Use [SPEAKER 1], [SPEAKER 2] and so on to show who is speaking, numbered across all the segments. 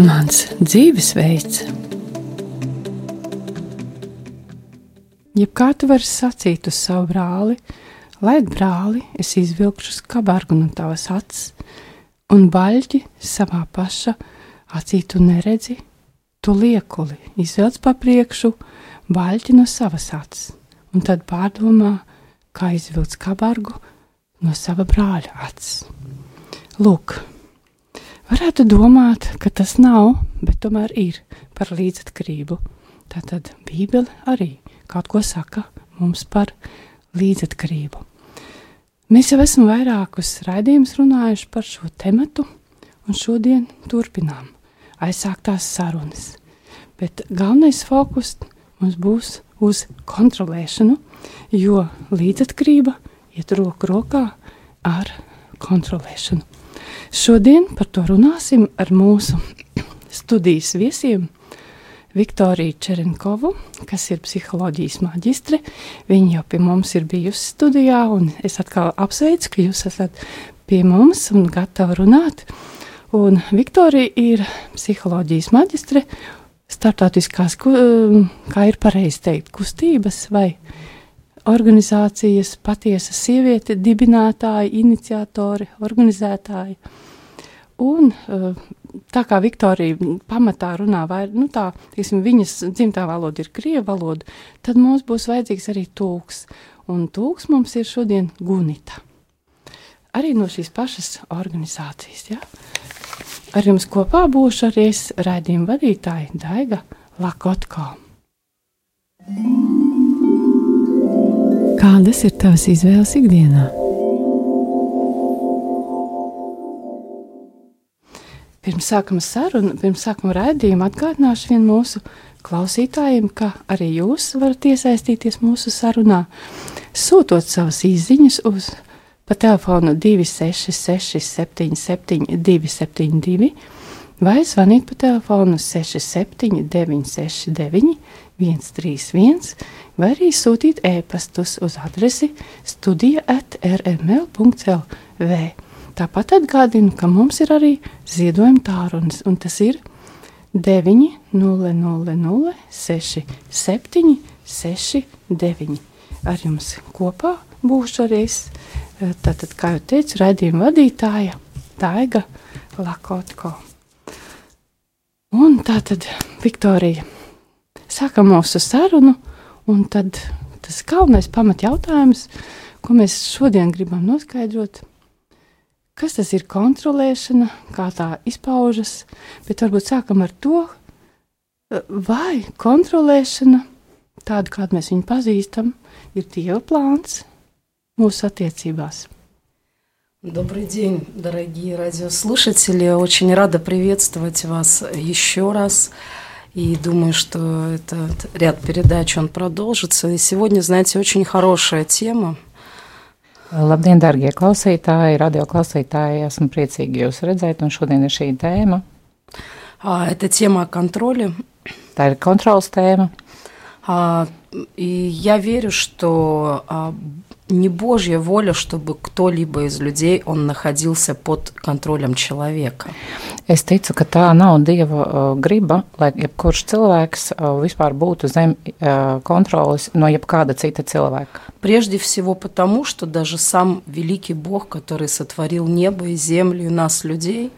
[SPEAKER 1] Mans dzīvesveids. Jebkā tu vari sacīt uz savu brāli, lai brāli es izvilkšu skarbāru no tavas acis, un baļķi savā paša acī tu neredzi, tu liekuli izvelc pa priekšu, baļķi no savas acis, un tad pārdomā, kā izvilkt skarbāru no sava brāļa acis. Lūk, Varētu domāt, ka tas nav, bet tomēr ir par līdzatkarību. Tātad Bībele arī kaut ko saka mums par līdzatkarību. Mēs jau esam vairākus raidījumus runājuši par šo tematu, un šodien turpinām aizsāktās sarunas. Bet galvenais fokus mums būs uz kontrolēšanu, jo līdzatkarība iet roku rokā ar kontrolēšanu. Šodien par to runāsim ar mūsu studijas viesiem. Viktoriju Čerenkovu, kas ir psiholoģijas maģistre. Viņa jau pie mums ir bijusi studijā, un es atkal apsveicu, ka jūs esat pie mums un gatavi runāt. Un Viktorija ir psiholoģijas maģistre starptautiskās, kā ir pareizi teikt, kustības vai organizācijas patiesa sieviete, dibinātāja, iniciatore, organizētāja. Un, eh, tā kā Viktorija pamatā runā, vai, nu tā, tiksim, viņas dzimtā valoda ir krievu valoda, tad mums būs vajadzīgs arī tūks. Un tūks mums ir šodien Gunita. Arī no šīs pašas organizācijas. Ja? Ar jums kopā būšu arī es raidījumu vadītāja Daiga Lakotko. Mm. Kādas ir tavas izvēles ikdienā? Pirms sākam sarunu, pirms sākam raidījumu, atgādināšu vien mūsu klausītājiem, ka arī jūs varat iesaistīties mūsu sarunā, sūtot savas izziņas uz pa telefonu 266 77 272 vai zvanīt pa telefonu 67 969 131, vai arī sūtīt e-pastus uz adresi studija at rml.clv. Tāpat atgādinu, ka mums ir arī ziedojuma tārunis, un tas ir 900-6769. Ar jums kopā būšu arī es, tātad, kā jau teicu, redzījuma vadītāja Taiga Lakotko. Un tātad, Viktorija, sākam mūsu sarunu. Un tad tas galvenais pamatjautājums, ko mēs šodien gribam noskaidrot, kas tas ir kontrolēšana, kā tā izpaužas, bet varbūt sākam ar to, vai kontrolēšana, tāda kādu mēs viņu pazīstam, ir Dieva plāns mūsu attiecībās.
[SPEAKER 2] Добрый день, дорогие радиослушатели. Очень рада приветствовать вас еще раз. И думаю, что этот ряд передач, он продолжится. И сегодня, знаете, очень хорошая тема.
[SPEAKER 3] Labdien, darbie klausītāji, radio klausītāji! Esmu priecīgi jūs redzēt, un šodien ir šī tēma.
[SPEAKER 2] А, Это тема о контроле. А,
[SPEAKER 3] Tā ir kontrols tēma.
[SPEAKER 2] И я верю, что а, не Божья воля, чтобы кто-либо из людей, он находился под контролем человека.
[SPEAKER 3] Es ticu, ka tā nav Dieva uh, griba, lai jebkurš cilvēks uh, vispār būtu zem uh, kontrolas no jebkāda cita cilvēka.
[SPEAKER 2] Прежде всего потому, что даже сам великий Бог, который сотворил небо и землю и нас, людей,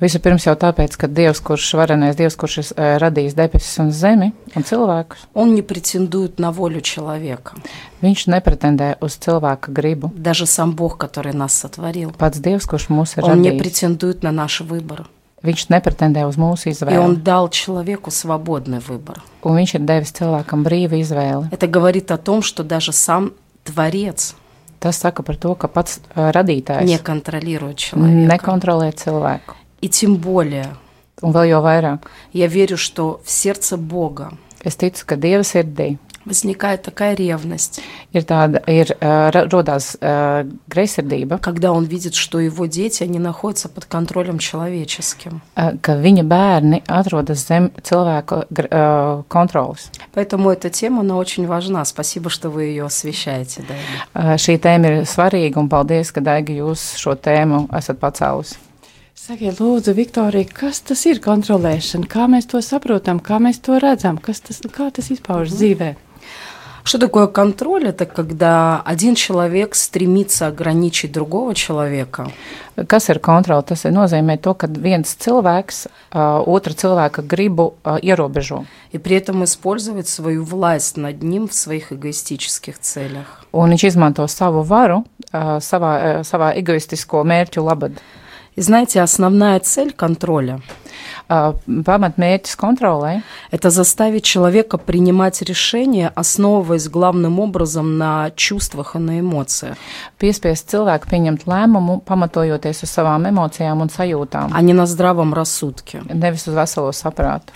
[SPEAKER 3] Vispirms jau tāpēc, ka Dievs, kurš ir varenais, Dievs, kurš ir uh, radījis debesis un zemi un cilvēkus,
[SPEAKER 2] он не претендует на волю человека.
[SPEAKER 3] viņš nepretendē uz cilvēka gribu.
[SPEAKER 2] Даже сам Бог, который нас сотворил,
[SPEAKER 3] Pats Dievs, kurš mūs ir
[SPEAKER 2] он не
[SPEAKER 3] radījis,
[SPEAKER 2] претендует на наш выбор.
[SPEAKER 3] viņš nepretendē uz mūsu
[SPEAKER 2] И
[SPEAKER 3] izvēli,
[SPEAKER 2] он дал человеку свободный выбор.
[SPEAKER 3] un viņš ir devis cilvēkam brīvu izvēli.
[SPEAKER 2] Это говорит о том, что даже сам Творец
[SPEAKER 3] Tas saka par to, ka pats uh, radītājs
[SPEAKER 2] не контролирует человека.
[SPEAKER 3] nekontrolē cilvēku.
[SPEAKER 2] И тем более,
[SPEAKER 3] Un vēl jau vairāk,
[SPEAKER 2] я верю, что в сердце Бога
[SPEAKER 3] es ticu, ka Dieva sirdī
[SPEAKER 2] возникает такая ревность,
[SPEAKER 3] ir tāda, ir uh, ra- rodās uh, greizsirdība,
[SPEAKER 2] когда он видит, что его дети, они находятся под контролем человеческим.
[SPEAKER 3] uh, ka viņa bērni atrodas zem cilvēku gr- uh, kontrolas.
[SPEAKER 2] Поэтому эта тема, она очень важна. Spasibo, что вы ее освещаете, Дайна.
[SPEAKER 3] Uh, šī tēma ir svarīga un paldies, ka Daiga jūs šo tēmu esat pacēlusi.
[SPEAKER 1] Sakiet, lūdzu, Viktorija, kas tas ir kontrolēšana? Kā mēs to saprotam, kā mēs to redzam, kas tas, kā tas izpaužas mm. dzīvē?
[SPEAKER 2] Что такое контроль? Это когда один человек стремится ограничить другого человека.
[SPEAKER 3] Kas ir kontrole? Tas ir nozīmē to, ka viens cilvēks uh, otra cilvēka gribu uh, ierobežo.
[SPEAKER 2] И при этом использовать свою власть над ним в своих эгоистических целях.
[SPEAKER 3] Un viņš izmanto savu varu uh, savā, uh, savā egoistisko mērķu labad.
[SPEAKER 2] И знаете, основная цель контроля
[SPEAKER 3] Uh, pamatmērķis kontrolē
[SPEAKER 2] – это заставить человека принимать решения, основываясь главным образом на чувствах и на эмоциях,
[SPEAKER 3] piespiest cilvēku pieņemt lēmumu, pamatojoties uz savām emocijām un sajūtām,
[SPEAKER 2] а не на здравом рассудке.
[SPEAKER 3] nevis uz veselo saprātu.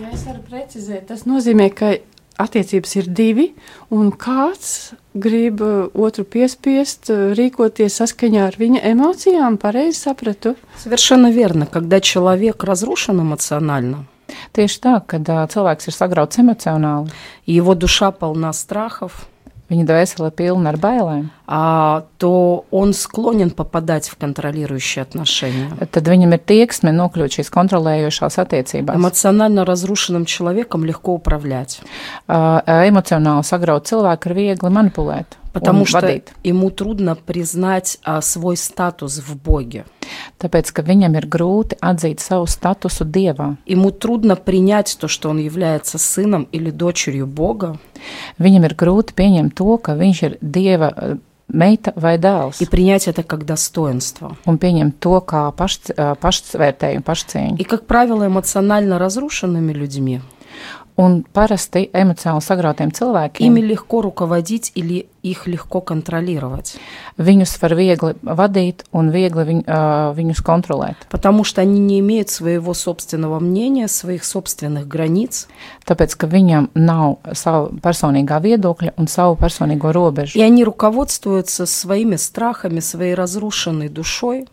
[SPEAKER 1] Ja es varu precizēt, tas nozīmē, ka attiecības ir divi, un kāds grib uh, otru piespiest uh, rīkoties saskaņā ar viņa emocijām, pareizi sapratu.
[SPEAKER 2] Совершенно верно. Когда человек разрушен эмоционально,
[SPEAKER 3] Tieši tā, kad uh, cilvēks ir sagrauts emocionāli,
[SPEAKER 2] и его душа полна страхов,
[SPEAKER 3] viņa dvēsele pilna ar bailēm,
[SPEAKER 2] а, то он склонен попадать в контролирующие отношения.
[SPEAKER 3] tad viņam ir tieksme nokļūt šīs kontrolējošās attiecībās.
[SPEAKER 2] Эмоционально разрушенным человеком легко управлять,
[SPEAKER 3] Uh, emocionāli sagraut cilvēku ir viegli manipulēt.
[SPEAKER 2] потому
[SPEAKER 3] un
[SPEAKER 2] что
[SPEAKER 3] vadīt,
[SPEAKER 2] ему трудно признать а, свой статус в Боге.
[SPEAKER 3] tāpēc, ka viņam ir grūti atzīt savu statusu dievā.
[SPEAKER 2] Ему трудно принять то, что он является сыном или дочерью Бога,
[SPEAKER 3] Viņam ir grūti pieņemt to, ka viņš ir dieva uh, meita vai dēls,
[SPEAKER 2] и принять это как достоинство.
[SPEAKER 3] un pieņemt to kā pašc, uh, pašsvērtējumu, pašcieņu.
[SPEAKER 2] И, как правило, эмоционально разрушенными людьми
[SPEAKER 3] Un parasti emocionāli sagrautiem
[SPEAKER 2] ими
[SPEAKER 3] cilvēkiem
[SPEAKER 2] легко руководить или их легко контролировать,
[SPEAKER 3] viņus var viegli vadīt un viegli viņ, uh, viņus kontrolēt.
[SPEAKER 2] потому что они не имеют своего собственного мнения, своих собственных границ,
[SPEAKER 3] Tāpēc, ka viņam nav savu personīgā viedokļa un savu personīgo
[SPEAKER 2] и
[SPEAKER 3] robežu.
[SPEAKER 2] они руководствуются своими страхами, своей разрушенной душой,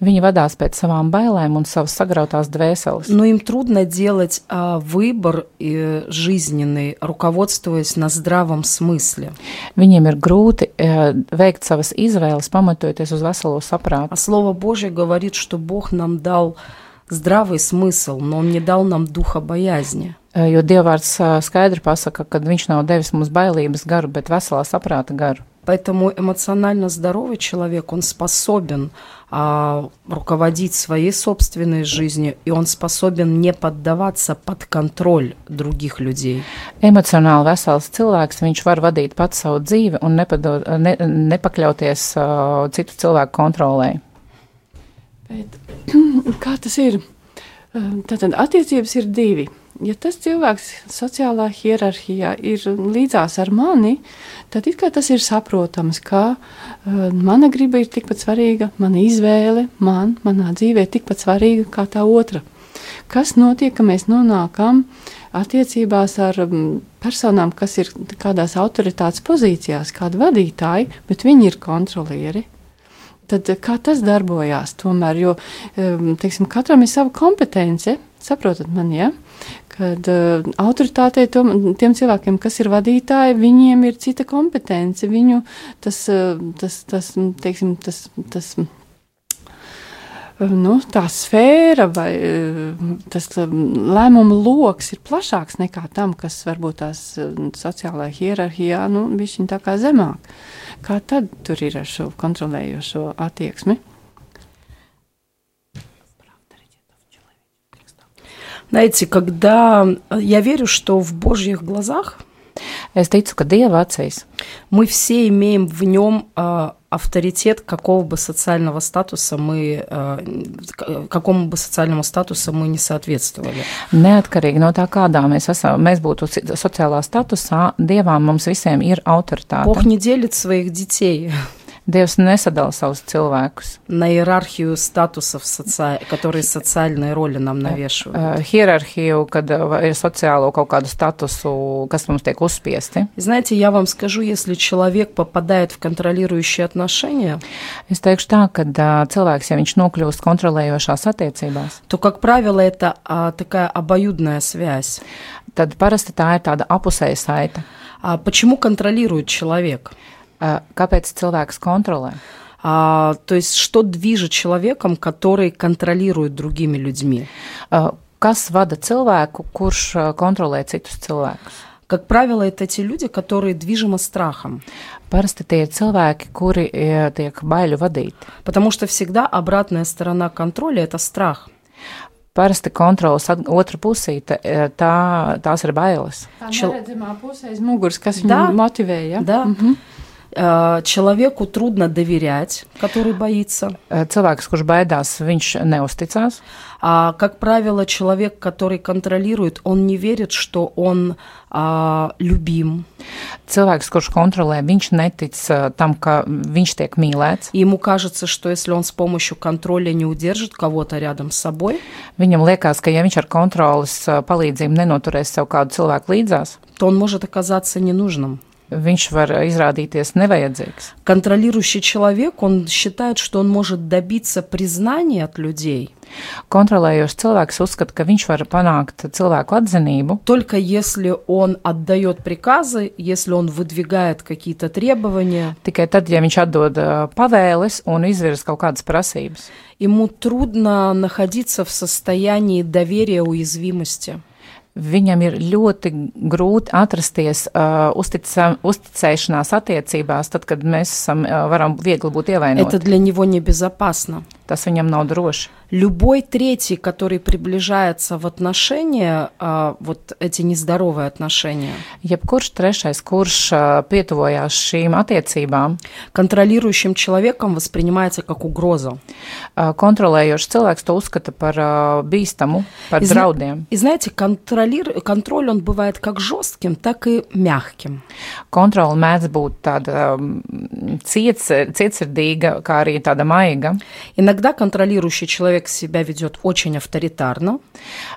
[SPEAKER 3] Viņi vadās pēc savām bailēm un savas sagrautās dvēseles.
[SPEAKER 2] но им трудно делать а, выбор э, жизненный, руководствуясь на здравом смысле.
[SPEAKER 3] Viņiem ir grūti eh, veikt savas izvēles, pamatojoties uz veselo
[SPEAKER 2] А
[SPEAKER 3] saprātu.
[SPEAKER 2] Слово Божье говорит, что Бог нам дал здравый смысл, но Он не дал нам духа боязни.
[SPEAKER 3] Eh, Jo Dievs skaidri pasaka, ka Viņš nav devis mums bailības garu, bet veselā saprāta garu.
[SPEAKER 2] Поэтому эмоционально здоровый человек, он способен а, руководить своей собственной жизнью, и он способен не поддаваться под контроль других людей.
[SPEAKER 3] Emocionāli vesels cilvēks, viņš var vadīt pats savu dzīvi un nepadod, eh, ne, nepakļauties eh, citu cilvēku kontrolē.
[SPEAKER 1] Bet, kā tas ir? Um, Tātad attiecības ir divi. Ja tas cilvēks sociālā hierarhijā ir līdzās ar mani, tad it kā tas ir saprotams, ka uh, mana griba ir tikpat svarīga, mana izvēle man, manā dzīvē ir tikpat svarīga kā tā otra. Kas notiek, ka mēs nonākam attiecībās ar mm, personām, kas ir kādās autoritātes pozīcijās, kādi vadītāji, bet viņi ir kontrolieri? Tad, eh, kā tas darbojās? Tomēr, jo em, teiksim, katram ir sava kompetence, saprotat man, ja? kad eh, autoritātei, tom, tiem cilvēkiem, kas ir vadītāji, viņiem ir cita kompetence. Viņu tas, eh, tas, tas, mm, teiksim, tas, tas mm, nu, tā sfēra vai eh, tas mm, lēmumu lokus ir plašāks nekā tam, kas varbūt tās eh, sociālajā hierarhijā nu, bija viņa tā kā zemāk. Kā tad tur ir ar šo kontrolējošo attieksmi?
[SPEAKER 2] Знаете, когда э, я верю, что в Божьих глазах
[SPEAKER 3] Es ticu, ka Dieva acīs
[SPEAKER 2] мы все имеем в нем а, авторитет какого бы социального статуса мы а, к- какому бы социальному статусу мы не соответствовали.
[SPEAKER 3] Neatkarīgi no tā, kādā mēs esam, mēs būtu si- sociālā statusā, dievam mums visiem ir
[SPEAKER 2] Бог
[SPEAKER 3] autoritāte.
[SPEAKER 2] не делит своих детей
[SPEAKER 3] Dievs nesadala savus cilvēkus.
[SPEAKER 2] на иерархию статусов, соци- которые социальные роли нам навешивают.
[SPEAKER 3] Uh, hierarhiju, kad uh, vai ir sociālo kaut kādu statusu, kas mums tiek uzspiesti.
[SPEAKER 2] И Знаете, я вам скажу, если человек попадает в контролирующие отношения,
[SPEAKER 3] Es teikšu tā, ka uh, cilvēks, ja viņš nokļūst kontrolējošās attiecībās,
[SPEAKER 2] то, как правило, это а, такая обоюдная связь.
[SPEAKER 3] tad parasti tā ir tāda apusēja saita.
[SPEAKER 2] А почему контролирует человек?
[SPEAKER 3] Uh, Kāpēc cilvēks kontrolē?
[SPEAKER 2] А А, то есть что движет человеком, который контролирует другими людьми?
[SPEAKER 3] Kas vada cilvēku, kurš kontrolē citus cilvēkus?
[SPEAKER 2] Как правило, это те люди, которые движимы страхом.
[SPEAKER 3] Parasti tie ir cilvēki, kuri eh, tiek baļu vadīti.
[SPEAKER 2] Потому что всегда обратная сторона контроля – это страх.
[SPEAKER 3] Parasti kontrolas at- otra pusīte, eh, tā, tās ir bailes.
[SPEAKER 1] Tā
[SPEAKER 2] Čel-
[SPEAKER 1] ir redzamā pusē aiz muguras, kas viņu
[SPEAKER 2] Da.
[SPEAKER 1] motivēja.
[SPEAKER 2] Да? Э, Человеку трудно доверять, который боится.
[SPEAKER 3] Eh, Cilvēks, kurš baidās, viņš neusticās.
[SPEAKER 2] А, как правило, человек, который контролирует, он не верит, что он а, любим.
[SPEAKER 3] Cilvēks, kurš kontrolē, viņš netic eh, tam, ka viņš tiek mīlēts.
[SPEAKER 2] И ему кажется, что если он с помощью контроля не удержит кого-то рядом с собой,
[SPEAKER 3] Viņam liekas, ka ja viņš ar kontrolas eh, palīdzību nenoturēs sev kādu cilvēku līdzās,
[SPEAKER 2] то он может оказаться ненужным.
[SPEAKER 3] viņš var eh, izrādīties nevajadzīgs.
[SPEAKER 2] Контролирующий человек, он считает, что он может добиться признания от людей,
[SPEAKER 3] Kontrolējošs cilvēks uzskata, ka viņš var panākt cilvēku atzinību
[SPEAKER 2] только если он отдает приказы, если он выдвигает какие-то требования.
[SPEAKER 3] tikai tad, ja viņš atdod eh, pavēles un izvirza kaut kādas prasības.
[SPEAKER 2] Ему трудно находиться в состоянии доверия уязвимости.
[SPEAKER 3] Viņam ir ļoti grūti atrasties uh, uzticam, uzticēšanās attiecībās, tad, kad mēs esam, uh, varam viegli būt
[SPEAKER 2] Это
[SPEAKER 3] ievainoti.
[SPEAKER 2] для него небезопасно.
[SPEAKER 3] Tas viņam nav droši.
[SPEAKER 2] Любой третий, который приближается в отношения, а, вот эти нездоровые отношения,
[SPEAKER 3] Jebkurš trešais, kurš uh, pietuvojās šīm attiecībām,
[SPEAKER 2] контролирующим человеком воспринимается как угроза.
[SPEAKER 3] uh, kontrolējošs cilvēks to uzskata par uh, bīstamu, par
[SPEAKER 2] И зна-
[SPEAKER 3] draudiem.
[SPEAKER 2] И знаете, контролир, контроль, он бывает как жестким, так и мягким.
[SPEAKER 3] Kontrola mēdz būt tāda um, ciets, cietsirdīga, kā arī tāda maiga.
[SPEAKER 2] Иногда контролирующий человек себя ведет очень авторитарно,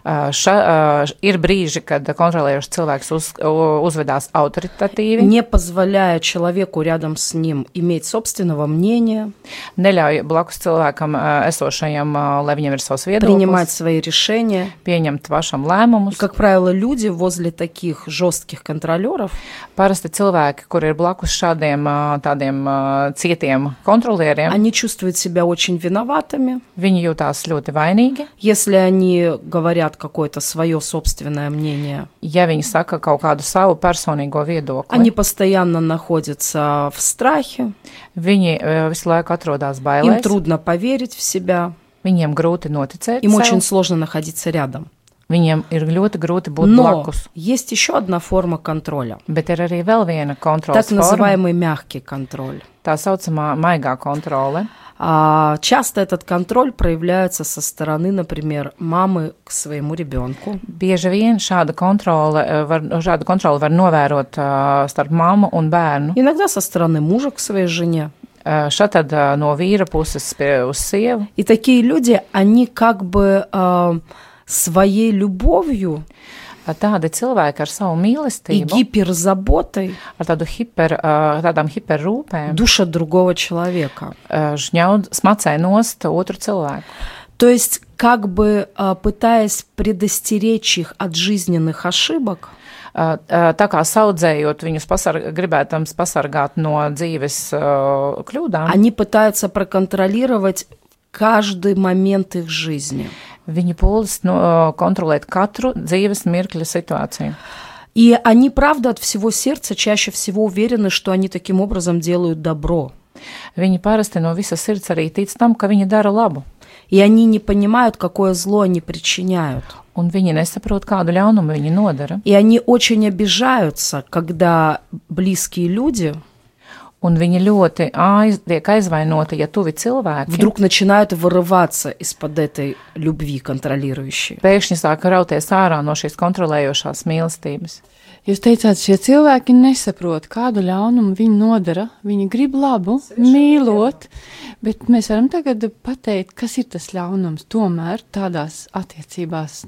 [SPEAKER 3] Uh, ša, uh, ir brīži, kad kontrolējošs cilvēks uz, u- uzvedās autoritatīvi.
[SPEAKER 2] не позволяя человеку рядом с ним иметь собственного мнения,
[SPEAKER 3] neļauj blakus cilvēkam ā, esošajam, ā, lai viņam ir savs
[SPEAKER 2] принимать
[SPEAKER 3] viedoklis,
[SPEAKER 2] свои решения.
[SPEAKER 3] pieņemt pašam lēmumus.
[SPEAKER 2] Как правило, люди возле таких жестких контролеров
[SPEAKER 3] Parasti cilvēki, kur ir blakus šādiem ā, tādiem ā, cietiem kontrolieriem,
[SPEAKER 2] Они чувствуют себя очень виноватыми.
[SPEAKER 3] viņi jūtās ļoti vainīgi.
[SPEAKER 2] Если они говорят какое-то свое собственное мнение,
[SPEAKER 3] Ja viņi saka kaut kādu savu personīgo viedokli,
[SPEAKER 2] они постоянно находятся в страхе,
[SPEAKER 3] viņi ā, visu laiku atrodas
[SPEAKER 2] им
[SPEAKER 3] bailēs,
[SPEAKER 2] трудно поверить в себя,
[SPEAKER 3] viņiem grūti noticēt,
[SPEAKER 2] им очень
[SPEAKER 3] sev,
[SPEAKER 2] сложно находиться рядом.
[SPEAKER 3] viņiem ir ļoti grūti būt
[SPEAKER 2] Но
[SPEAKER 3] blakus.
[SPEAKER 2] есть еще одна форма kontroля,
[SPEAKER 3] Bet ir arī vēl viena kontrola,
[SPEAKER 2] так называемый мягкий контроль.
[SPEAKER 3] tā saucamā maigā kontrole.
[SPEAKER 2] А, часто этот контроль проявляется со стороны, например, мамы к своему ребенку.
[SPEAKER 3] Bieži vien šāda kontrole eh, var, šādu kontroli var novērot eh, starp mammu un bērnu.
[SPEAKER 2] Иногда со стороны мужа к своей жене.
[SPEAKER 3] Eh, Šā tad eh, no vīra puses pie, uz sievu.
[SPEAKER 2] И такие люди, они как бы а, своей любовью
[SPEAKER 3] Eh, Tādi cilvēki ar savu
[SPEAKER 2] и
[SPEAKER 3] mīlestību,
[SPEAKER 2] гиперзаботой
[SPEAKER 3] ar tādu hiper, eh, tādām hiperrūpēm,
[SPEAKER 2] душат другого человека.
[SPEAKER 3] eh, žņaud, smacē nost otru cilvēku.
[SPEAKER 2] То есть как бы а, пытаясь предостеречь их от жизненных ошибок,
[SPEAKER 3] Eh, eh, Tā kā saudzējot viņus, pasar, gribētams pasargāt no dzīves eh, kļūdām,
[SPEAKER 2] они пытаются проконтролировать каждый момент их жизни.
[SPEAKER 3] viņi pūlas no, kontrolēt katru dzīves mirkļa situāciju.
[SPEAKER 2] И они, правда, от всего сердца чаще всего уверены, что они таким образом делают добро.
[SPEAKER 3] Viņi parasti no visas sirds arī tic tam, ka viņi dara labu.
[SPEAKER 2] И они не понимают, какое зло они причиняют.
[SPEAKER 3] Un viņi nesaprot, kādu ļaunumu viņi nodara.
[SPEAKER 2] И они очень обижаются, когда близкие люди
[SPEAKER 3] Un viņi ļoti aiz, tiek aizvainoti, ja tuvi cilvēki
[SPEAKER 2] вдруг начинают вырываться из-под этой любви контролирующей.
[SPEAKER 3] pēkšņi sāk rauties ārā no šīs kontrolējošās mīlestības.
[SPEAKER 1] Jūs teicāt, šie cilvēki nesaprot, kādu ļaunumu viņi nodara. Viņi grib labu, mīlot, bet mēs varam tagad pateikt, kas ir tas ļaunums tomēr tādās attiecībās.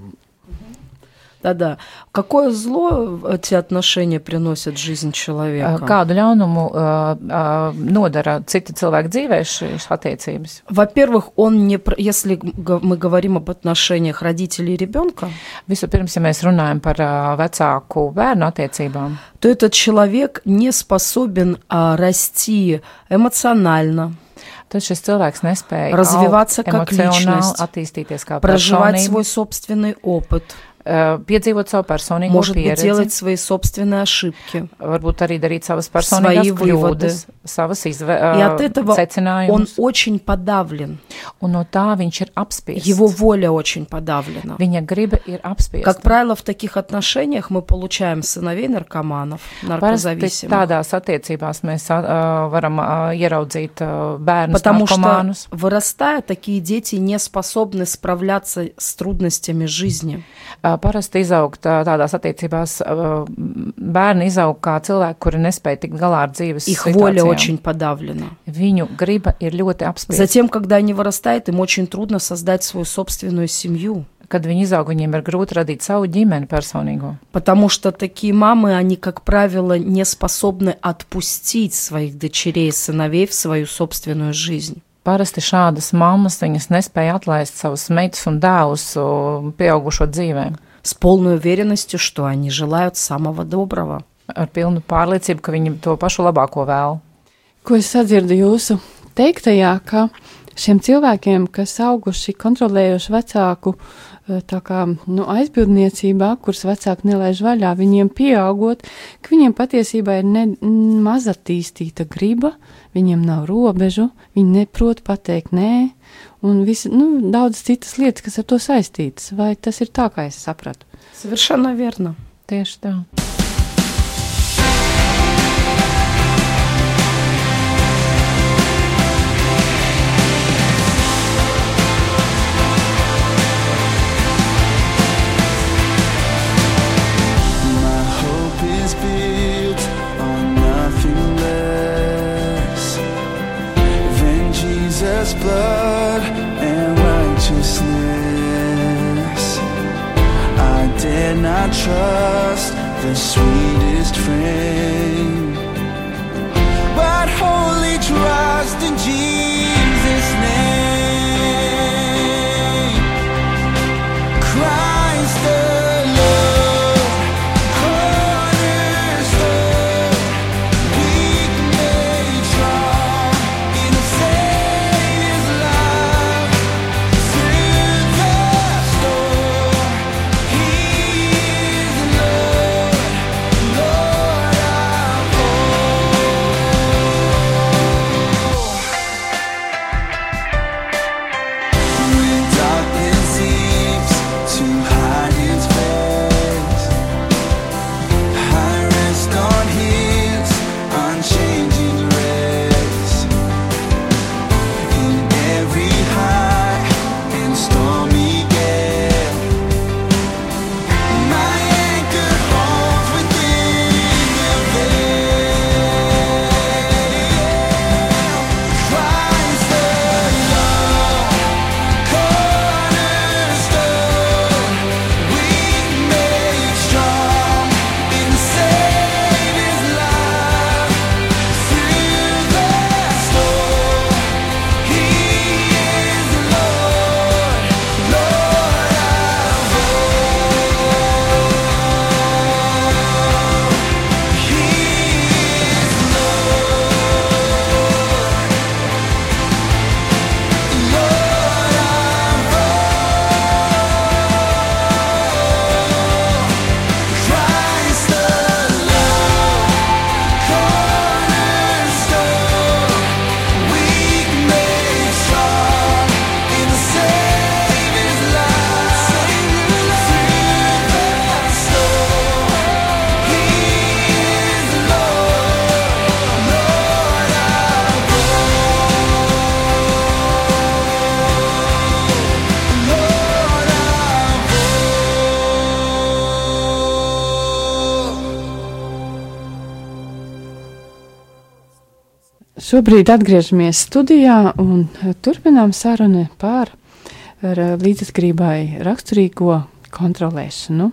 [SPEAKER 2] Да-да. Какое зло эти отношения приносят в жизнь человека?
[SPEAKER 3] Eh, Kādu ļaunumu uh, uh, nodara citi cilvēki dzīvē šīs attiecības?
[SPEAKER 2] Во-первых, он не, про- если г- мы говорим об отношениях родителей и ребенка,
[SPEAKER 3] Vispirms, ja mēs runājam par uh, vecāku bērnu attiecībām,
[SPEAKER 2] то этот человек не способен а, расти эмоционально,
[SPEAKER 3] Tad šis человек nespēja
[SPEAKER 2] развиваться как личность,
[SPEAKER 3] attīstīties kā
[SPEAKER 2] проживать
[SPEAKER 3] personība,
[SPEAKER 2] свой собственный опыт,
[SPEAKER 3] eh, piedzīvot savu personīgo
[SPEAKER 2] может быть,
[SPEAKER 3] pieredzi,
[SPEAKER 2] делать свои собственные ошибки.
[SPEAKER 3] varbūt arī darīt savas personīgās
[SPEAKER 2] Свои выводы.
[SPEAKER 3] kļūdas, savas
[SPEAKER 2] И от этого
[SPEAKER 3] izvēles,
[SPEAKER 2] он
[SPEAKER 3] secinājumus.
[SPEAKER 2] очень подавлен,
[SPEAKER 3] Un no tā viņš ir apspiests.
[SPEAKER 2] его воля очень подавлена.
[SPEAKER 3] Viņa griba ir apspiesta.
[SPEAKER 2] Как правило, в таких отношениях мы получаем сыновей наркоманов,
[SPEAKER 3] Parasti
[SPEAKER 2] наркозависимых.
[SPEAKER 3] tādās attiecībās mēs uh, varam uh, ieraudzīt uh, bērnu
[SPEAKER 2] Потому что,
[SPEAKER 3] narkomānus,
[SPEAKER 2] вырастая, такие дети не способны справляться с трудностями жизни.
[SPEAKER 3] Uh, parasti izaugt uh, tādās attiecībās uh, bērni izaug kā cilvēki, kuri nespēja tikt galā ar dzīves
[SPEAKER 2] Их воля
[SPEAKER 3] situācijām.
[SPEAKER 2] очень подавлена.
[SPEAKER 3] Viņu griba ir ļoti apspiesta.
[SPEAKER 2] Затем, когда они вырастают, им очень трудно создать свою собственную семью.
[SPEAKER 3] Kad viņi izaug, viņiem ir grūti radīt savu ģimeni personīgo.
[SPEAKER 2] Потому что такие мамы, они, как правило, не способны отпустить своих дочерей и сыновей в свою собственную жизнь.
[SPEAKER 3] Parasti šādas mammas viņas nespēja atlaist savus meitas un dēlus uh, pieaugušo dzīvēm.
[SPEAKER 2] С полной уверенностью, что они желают самого доброго.
[SPEAKER 3] ar pilnu pārliecību, ka viņi to pašu labāko vēl.
[SPEAKER 1] Ko es sadzirdu jūsu teiktajā, ka šiem cilvēkiem, kas auguši kontrolējuši vecāku eh, tā kā, nu, aizbildniecībā, kuras vecāki nelaiž vaļā, viņiem pieaugot, ka viņiem patiesībā ir ne, n- maz attīstīta griba, viņiem nav robežu, viņi neprot pateikt nē, un visi, nu, daudz citas lietas, kas ar to saistītas. Vai tas ir tā, kā es sapratu?
[SPEAKER 2] Совершенно верно.
[SPEAKER 3] Tieši tā.
[SPEAKER 4] My hope is built on nothing less than Jesus' blood and righteousness. I dare not trust the sweetest friend, but wholly trust in Jesus' name. Christ alone. Cornerstone, weak made strong in the Savior's love. Through the storm, He is Lord, Lord of all. When darkness seems to hide its face, I rest on His unchanging grace. In every high and stormy gale, my anchor holds within the veil. Christ alone. Cornerstone, weak made strong in Savior's love. Through the storm, He is Lord, Lord of all. He is Lord of all. Christ alone, cornerstone, weak made strong in the Savior's love. Through the storm, He is Lord, Lord of all.
[SPEAKER 1] Šobrīd atgriežamies studijā un eh, turpinām sarunu par ar, eh, līdzatkarībai raksturīgo kontrolēšanu.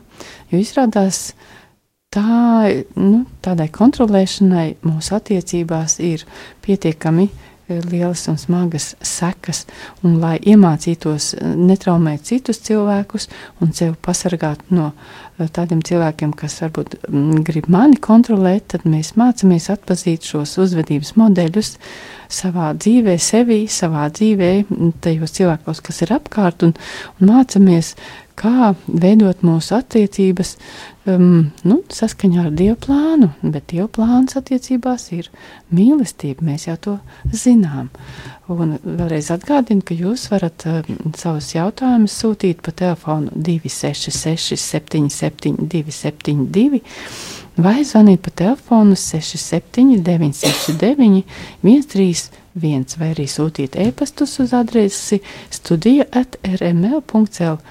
[SPEAKER 1] Jo izrādās, tā, nu, tādai kontrolēšanai mūsu attiecībās ir pietiekami e, lielas un smagas sekas, un lai iemācītos e, netraumēt citus cilvēkus un sevi pasargāt no e, tādiem cilvēkiem, kas varbūt mm, grib mani kontrolēt, tad mēs mācāmies atpazīt šos uzvedības modeļus savā dzīvē, sevi, savā dzīvē, mm, tajos cilvēkos, kas ir apkārt, un, un mācāmies, kā veidot mūsu attiecības um, nu, saskaņā ar Dieva plānu. Bet Dieva plāns attiecībās ir mīlestība, mēs jau to zinām. Un vēlreiz atgādinu, ka jūs varat um, savus jautājumus sūtīt pa telefonu 266, 77, 272 vai zvanīt pa telefonu 67, 969, 131 vai arī sūtīt e-pastus uz adresi studija at rml.clv.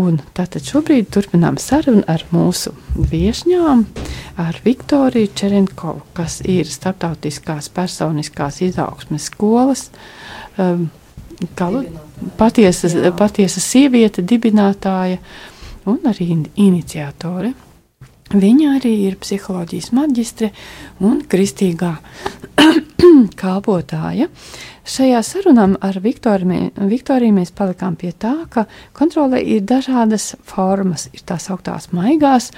[SPEAKER 1] Un tātad šobrīd turpinām sarunu ar mūsu viesņām, ar Viktoriju Čerenkovu, kas ir starptautiskās personiskās izaugsmes skolas. Um, kā lu- patiesa,
[SPEAKER 2] Jā.
[SPEAKER 1] patiesa sieviete, dibinātāja un arī in- iniciatore. Viņa arī ir psiholoģijas maģistre un kristīgā kalpotāja. Šajā sarunā ar Viktoru mē- Viktoriju mēs palikām pie tā, ka kontrolē ir dažādas formas. Ir tās augtās maigās,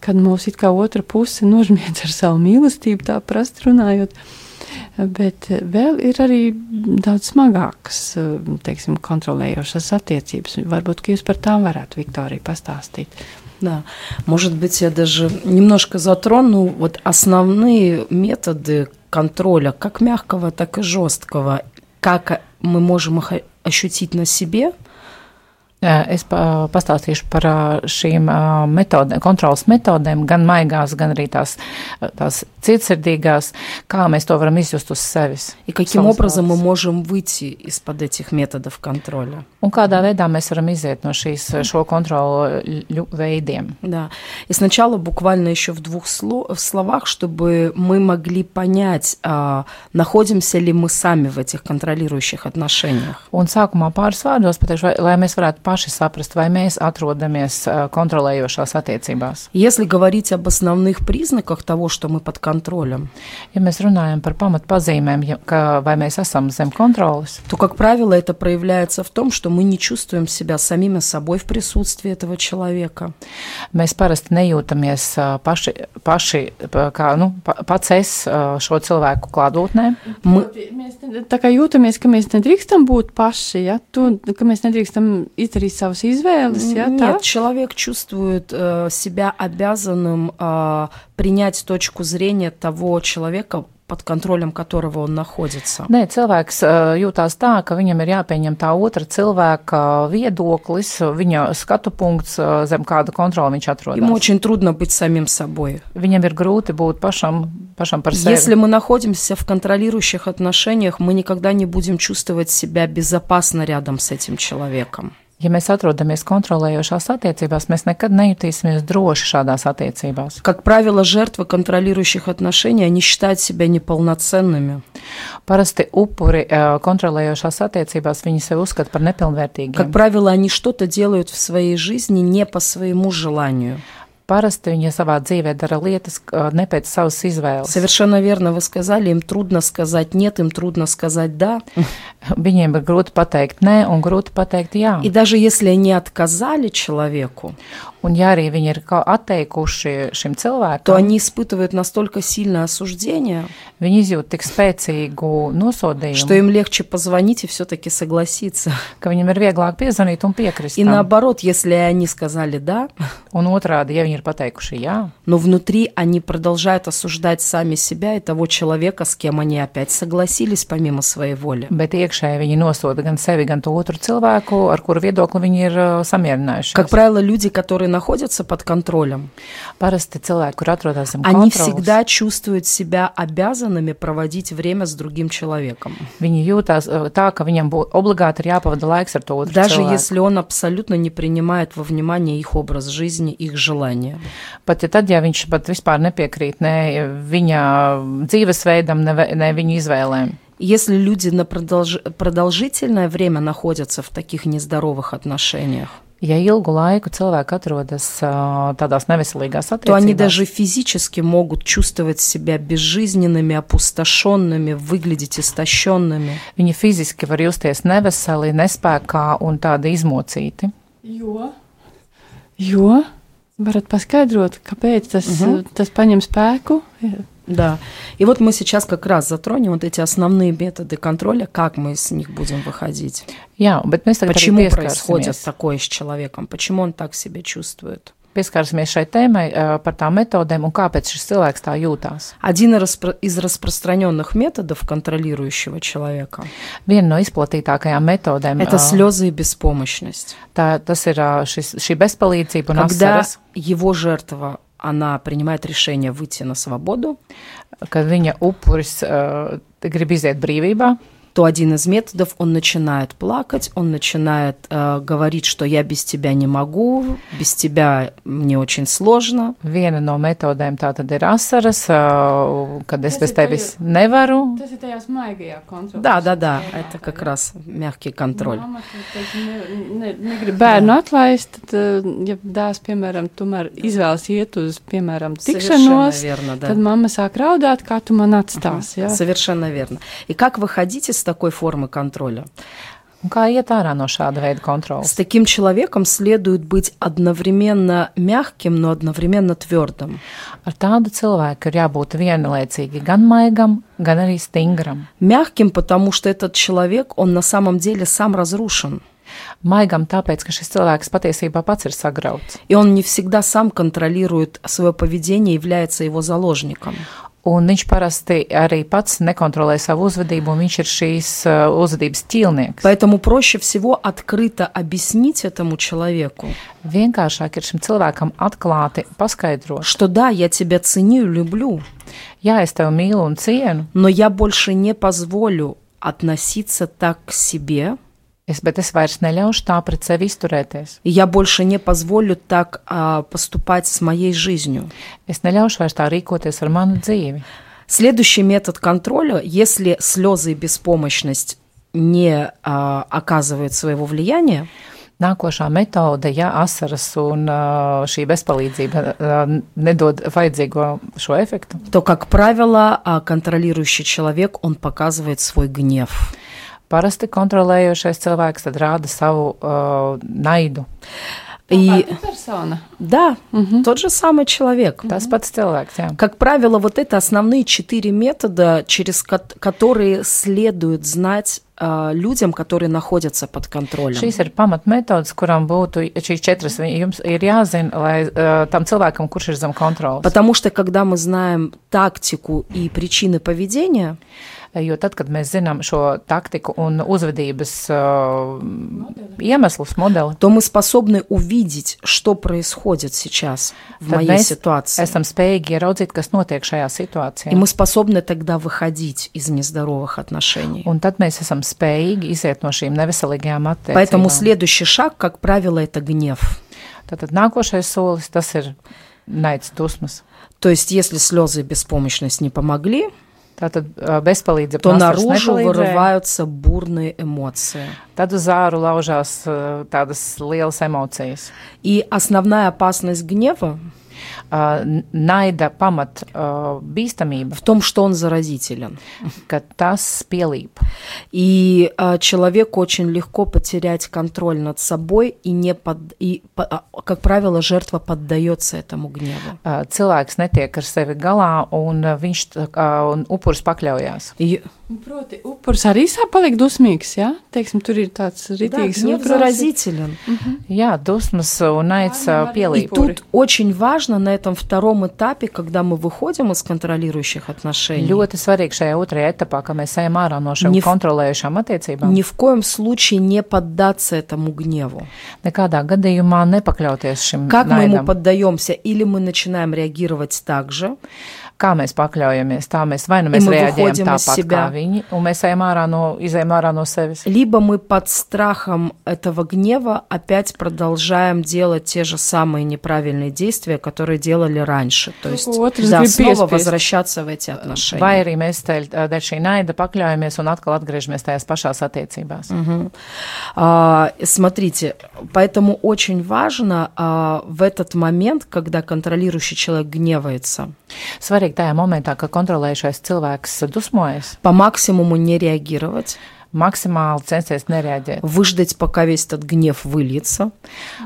[SPEAKER 1] kad mūsu it kā otra puse nožmiedz ar savu mīlestību, tā prasti runājot. Bet vēl ir arī daudz smagākas, teiksim, kontrolējošas attiecības. Varbūt, ka jūs par tām varētu, Viktorija, pastāstīt.
[SPEAKER 2] Да, может быть, я даже немножко затрону ну, вот основные методы контроля, как мягкого, так и жесткого, как мы можем их о- ощутить на себе.
[SPEAKER 3] Ā, Es pa- pastāstīšu par ā, šīm ā, metode, kontrolas metodēm, gan maigās, gan arī tās, ā, tās cietsirdīgās, kā mēs to varam izjust uz sevis.
[SPEAKER 2] И каким
[SPEAKER 3] Самозванцы.
[SPEAKER 2] образом мы можем выйти из-под этих методов контроля.
[SPEAKER 3] Un kādā veidā mēs varam iziet no šīs ā, šo kontrolu veidiem.
[SPEAKER 2] Да. И сначала буквально еще в двух сло- в словах, чтобы мы могли понять, а, находимся ли мы сами в этих контролирующих отношениях.
[SPEAKER 3] Un sākumā pāris vārdos pateikšu, vai, lai mēs varētu paši saprast, vai mēs atrodamies ā, kontrolējošās attiecībās.
[SPEAKER 2] Если говорить об основных признаках того, что мы под контролем,
[SPEAKER 3] Ja mēs runājam par pamatpazīmēm, ja, ka, vai mēs esam zem kontrolas,
[SPEAKER 2] то, как правило, это проявляется в том, что мы не чувствуем себя самими собой в присутствии этого человека.
[SPEAKER 3] mēs parasti nejūtamies ā, paši, paši pa- kā nu, pa- pats es ā, šo cilvēku klātbūtnē.
[SPEAKER 2] Мы,
[SPEAKER 1] Mēs ne- tā kā jūtamies, ka mēs nedrīkstam būt paši, ja? tu, ka mēs nedrīkstam izdarīt savas izvēles. Ja? tā?
[SPEAKER 2] Нет, человек чувствует э, себя обязанным а, принять точку зрения того человека, под контролем которого он находится.
[SPEAKER 3] Nē, cilvēks ā, jūtās tā, ka viņam ir jāpieņem tā otra cilvēka viedoklis, viņa skatu punkts, ā, zem kāda kontrola viņš
[SPEAKER 2] Ему
[SPEAKER 3] atrodas.
[SPEAKER 2] очень трудно быть самим собой.
[SPEAKER 3] Viņam ir grūti būt pašam, pašam par sevi.
[SPEAKER 2] Если мы находимся в контролирующих отношениях, мы никогда не будем чувствовать себя безопасно рядом с этим человеком.
[SPEAKER 3] Ja mēs atrodamies kontrolējošās attiecībās, mēs nekad nejutīsimies droši šādās attiecībās.
[SPEAKER 2] Как правило, жертвы контролирующих отношений, они считают себя неполноценными.
[SPEAKER 3] Parasti upuri eh, kontrolējošās attiecībās viņi sevi uzskata par nepilnvērtīgiem.
[SPEAKER 2] Как правило, они что-то делают в своей жизни не по своему желанию.
[SPEAKER 3] Parasti viņi savā dzīvē dara lietas eh, ne pēc savas izvēles.
[SPEAKER 2] Совершенно верно вы сказали, им трудно сказать нет, им трudно сказать да.
[SPEAKER 3] Viņiem ir grūti pateikt nē un grūti pateikt jā.
[SPEAKER 2] И даже если они отказали человеку,
[SPEAKER 3] Un ja arī viņi ir kā atteikuši šim
[SPEAKER 2] то
[SPEAKER 3] cilvēkam,
[SPEAKER 2] они испытывают настолько сильное осуждение,
[SPEAKER 3] viņi izjūt tik spēcīgu
[SPEAKER 2] что
[SPEAKER 3] nosodījumu,
[SPEAKER 2] им легче позвонить и все-таки согласиться.
[SPEAKER 3] ka viņam ir vieglāk piezvanīt un piekrist.
[SPEAKER 2] И
[SPEAKER 3] tam.
[SPEAKER 2] наоборот, если они сказали да,
[SPEAKER 3] Un otrādi, ja viņi ir pateikuši jā,
[SPEAKER 2] но внутри они продолжают осуждать сами себя и того человека, с кем они опять согласились помимо своей воли.
[SPEAKER 3] bet iekšēji viņi nosoda gan sevi, gan to otru cilvēku, ar kuru viedokli viņi ir eh, samierinājušies.
[SPEAKER 2] Как правило, люди, которые находятся под контролем,
[SPEAKER 3] Parasti cilvēki, kur atrodas zem
[SPEAKER 2] они
[SPEAKER 3] kontrolas,
[SPEAKER 2] всегда чувствуют себя обязанными проводить время с другim человеком.
[SPEAKER 3] Viņi jūtas tā, ka viņam būtu obligāti ir jāpavada laiks ar to otru.
[SPEAKER 2] Даже
[SPEAKER 3] cilvēku.
[SPEAKER 2] если он абсолютно не принимает во внимание их образ жизни, их желания.
[SPEAKER 3] Pat ja tad, ja viņš pat vispār nepiekrīt ne viņa dzīvesveidam, ne, ve- ne viņa izvēlēm.
[SPEAKER 2] Если люди на продолж- продолжительное время находятся в таких нездоровых отношениях,
[SPEAKER 3] ja ilgu laiku cilvēki atrodas ā, tādās neveselīgās
[SPEAKER 2] то они
[SPEAKER 3] attiecībās,
[SPEAKER 2] даже физически могут чувствовать себя безжизненными, опустошенными, выглядеть истощенными.
[SPEAKER 3] viņi fiziski var justies neveseli, nespējā un tādi izmocīti.
[SPEAKER 1] Jo, jo varat paskaidrot, kāpēc tas, uh -huh. tas paņem spēku.
[SPEAKER 2] Да. И вот мы сейчас как раз затронем вот эти основные методы контроля, как мы из них будем выходить.
[SPEAKER 3] Jā, bet mēs tagad arī
[SPEAKER 2] Почему происходит
[SPEAKER 3] pieskarsimies,
[SPEAKER 2] такое с человеком? Почему он так себя чувствует?
[SPEAKER 3] pieskarsimies šai tēmai ā, par tām metodēm un kāpēc šis cilvēks tā jūtās.
[SPEAKER 2] Один распро- из распространенных методов контролирующего человека
[SPEAKER 3] Viena no izplatītākajām metodēm
[SPEAKER 2] это
[SPEAKER 3] ā,
[SPEAKER 2] слезы и беспомощность.
[SPEAKER 3] tā, tas ir ā, šis, šī bezpalīdzība un
[SPEAKER 2] Когда
[SPEAKER 3] asaras,
[SPEAKER 2] его жертва она принимает решение выйти на свободу,
[SPEAKER 3] kad viņa upuris ā, grib iziet brīvībā.
[SPEAKER 2] то один из методов он начинает плакать, он начинает э, говорить, что я без тебя не могу, без тебя мне очень сложно.
[SPEAKER 3] Viena no metodēm tā tad ir asaras, ā, kad es
[SPEAKER 1] Tas
[SPEAKER 3] bez
[SPEAKER 1] ir
[SPEAKER 3] tevis nevaru.
[SPEAKER 1] Tas ir tajā smaigajā kontrolē.
[SPEAKER 2] Да, да, да, Ну, это как раз мягкий контроль.
[SPEAKER 1] Mamma, kas ne, ne, negrib bērnu atlaist, tad, eh, ja dēls, piemēram, tomēr izvēlas iet uz, piemēram, tikšanos,
[SPEAKER 2] Совершенно верно, да. Ну,
[SPEAKER 1] tad mamma sāk raudāt, kā tu man atstāsi. Jā.
[SPEAKER 2] Совершенно верно. И как выходить из такой формы контроля?
[SPEAKER 3] Un kā iet ārā no šāda veida kontrolas?
[SPEAKER 2] С таким человеком следует быть одновременно мягким, но одновременно твердым.
[SPEAKER 3] Ar tādu cilvēku ir jābūt vienlaicīgi gan maigam, gan arī stingram.
[SPEAKER 2] Мягким, потому что этот человек, он на самом деле сам разрушен.
[SPEAKER 3] Maigam tāpēc, ka šis cilvēks patiesībā pats ir sagrauts.
[SPEAKER 2] И он не всегда сам контролирует свое поведение, является его заложником.
[SPEAKER 3] Un viņš parasti arī pats nekontrolē savu uzvedību, un viņš ir šīs ā, uzvedības ķīlnieks.
[SPEAKER 2] Поэтому проще всего открыто объяснить этому человеку,
[SPEAKER 3] Vienkāršāk ir šim cilvēkam atklāti paskaidrot,
[SPEAKER 2] что да, я тебя ценю и люблю,
[SPEAKER 3] ja es tevi mīlu un cienu,
[SPEAKER 2] но я больше не позволю относиться так к себе,
[SPEAKER 3] es, bet es vairs neļaušu tā pret sevi izturēties.
[SPEAKER 2] и я больше не позволю так а, поступать с моей жизнью.
[SPEAKER 3] Es neļaušu vairs tā rīkoties ar manu dzīvi.
[SPEAKER 2] Следующий метод контроля, если слезы и беспомощность не а, оказывают своего влияния,
[SPEAKER 3] Nākošā metode, ja asaras un ā, šī bezpalīdzība ā, nedod vajadzīgo šo efektu,
[SPEAKER 2] то, как правило, а, контролирующий человек, он показывает свой гнев.
[SPEAKER 3] parasti kontrolējošais cilvēks tad rāda savu uh, naidu.
[SPEAKER 2] И
[SPEAKER 1] Tāda persona. Mhm.
[SPEAKER 2] да, тот же самый человек.
[SPEAKER 3] Tas pats cilvēks, jā.
[SPEAKER 2] Как правило, вот это основные четыре метода, через кот- которые следует знать а, людям, которые находятся под контролем.
[SPEAKER 3] Šīs ir pamatmetodas, kurām būtu šīs četras. vi- Jums ir jāzina, lai uh, tam cilvēkam, kurš ir zem kontrolas.
[SPEAKER 2] Потому что когда мы знаем тактику и причины поведения,
[SPEAKER 3] Jo tad, kad mēs zinām šo taktiku un uzvedības uh, iemeslus, modeli,
[SPEAKER 2] то мы способны увидеть, что происходит сейчас в
[SPEAKER 3] tad
[SPEAKER 2] моей
[SPEAKER 3] mēs
[SPEAKER 2] ситуации.
[SPEAKER 3] esam spējīgi ieraudzīt, kas notiek šajā
[SPEAKER 2] И
[SPEAKER 3] situācijā.
[SPEAKER 2] мы способны тогда выходить из нездоровых отношений.
[SPEAKER 3] Un tad mēs esam spējīgi iziet no šīm neveselīgajām
[SPEAKER 2] Поэтому
[SPEAKER 3] attiecībām.
[SPEAKER 2] следующий шаг, как правило, это гнев.
[SPEAKER 3] Tātad nākošais solis tas ir naids dusmas.
[SPEAKER 2] То есть, если слезы и беспомощность не помогли,
[SPEAKER 3] Tātad uh, bezpalīdzība.
[SPEAKER 2] то
[SPEAKER 3] no asaras
[SPEAKER 2] наружу
[SPEAKER 3] nepalīdzēja.
[SPEAKER 2] вырываются бурные эмоции.
[SPEAKER 3] Tad uz āru laužās uh, tādas lielas emocijas.
[SPEAKER 2] И основная опасность гнева
[SPEAKER 3] Uh, n- naida pamat uh, bīstamība,
[SPEAKER 2] в том, что он заразителен.
[SPEAKER 3] ka tas pielīp.
[SPEAKER 2] И а, человеку очень легко потерять контроль над собой, и, не под, и по- а, как правило, жертва поддается этому гневу.
[SPEAKER 3] Uh, Cilvēks netiek ar sevi galā, un uh, viņš tā kā- un upuris pakļaujās.
[SPEAKER 2] И,
[SPEAKER 1] Un Proti, upuris arī sāk palikt dusmīgs, jā? Teiksim, tur ir tāds
[SPEAKER 2] да,
[SPEAKER 1] ritīgs
[SPEAKER 2] гнев заразителен.
[SPEAKER 3] Jā, dusmas un naids uh,
[SPEAKER 1] Arī-
[SPEAKER 2] И
[SPEAKER 3] pielīp.
[SPEAKER 1] Пуры.
[SPEAKER 2] тут очень важно на этом втором этапе, когда мы выходим из контролирующих отношений,
[SPEAKER 3] Ļoti svarīgi šajā otrajā etapā, ka mēs ejam ārā no šīm
[SPEAKER 2] Nif-
[SPEAKER 3] kontrolējušām attiecībām.
[SPEAKER 2] ни в коем случае не поддаться этому гневу.
[SPEAKER 3] Nekādā gadījumā nepakļauties šim
[SPEAKER 2] Как мы ему
[SPEAKER 3] naidam.
[SPEAKER 2] поддаемся? Или мы начинаем реагировать так же,
[SPEAKER 3] kā mēs pakļaujamies. Tā mēs vai nu mēs
[SPEAKER 2] мы
[SPEAKER 3] reaģējam
[SPEAKER 2] выходим из
[SPEAKER 3] tāpat kā
[SPEAKER 2] себя.
[SPEAKER 3] viņi, un mēs ejam ārā no, izējam ārā no sevis.
[SPEAKER 2] Либо мы под страхом этого гнева опять продолжаем делать те же самые неправильные действия, которые делали раньше. То есть
[SPEAKER 1] вот,
[SPEAKER 2] да,
[SPEAKER 1] разбери
[SPEAKER 2] снова
[SPEAKER 1] спесь.
[SPEAKER 2] возвращаться в эти отношения.
[SPEAKER 3] Vai arī mēs teļ, dēļ šī naida pakļaujamies un atkal atgriežamies tajās pašās attiecībās. Mm.
[SPEAKER 2] Мгм. А, смотрите, поэтому очень важно а, в этот момент, когда контролирующий человек гневается,
[SPEAKER 3] Svarīgi tajā momentā, kad kontrolējušais cilvēks dusmojas,
[SPEAKER 2] по максимуму не реагировать,
[SPEAKER 3] maksimāli censties nereaģēt.
[SPEAKER 2] выждать, пока весь этот гнев выльется,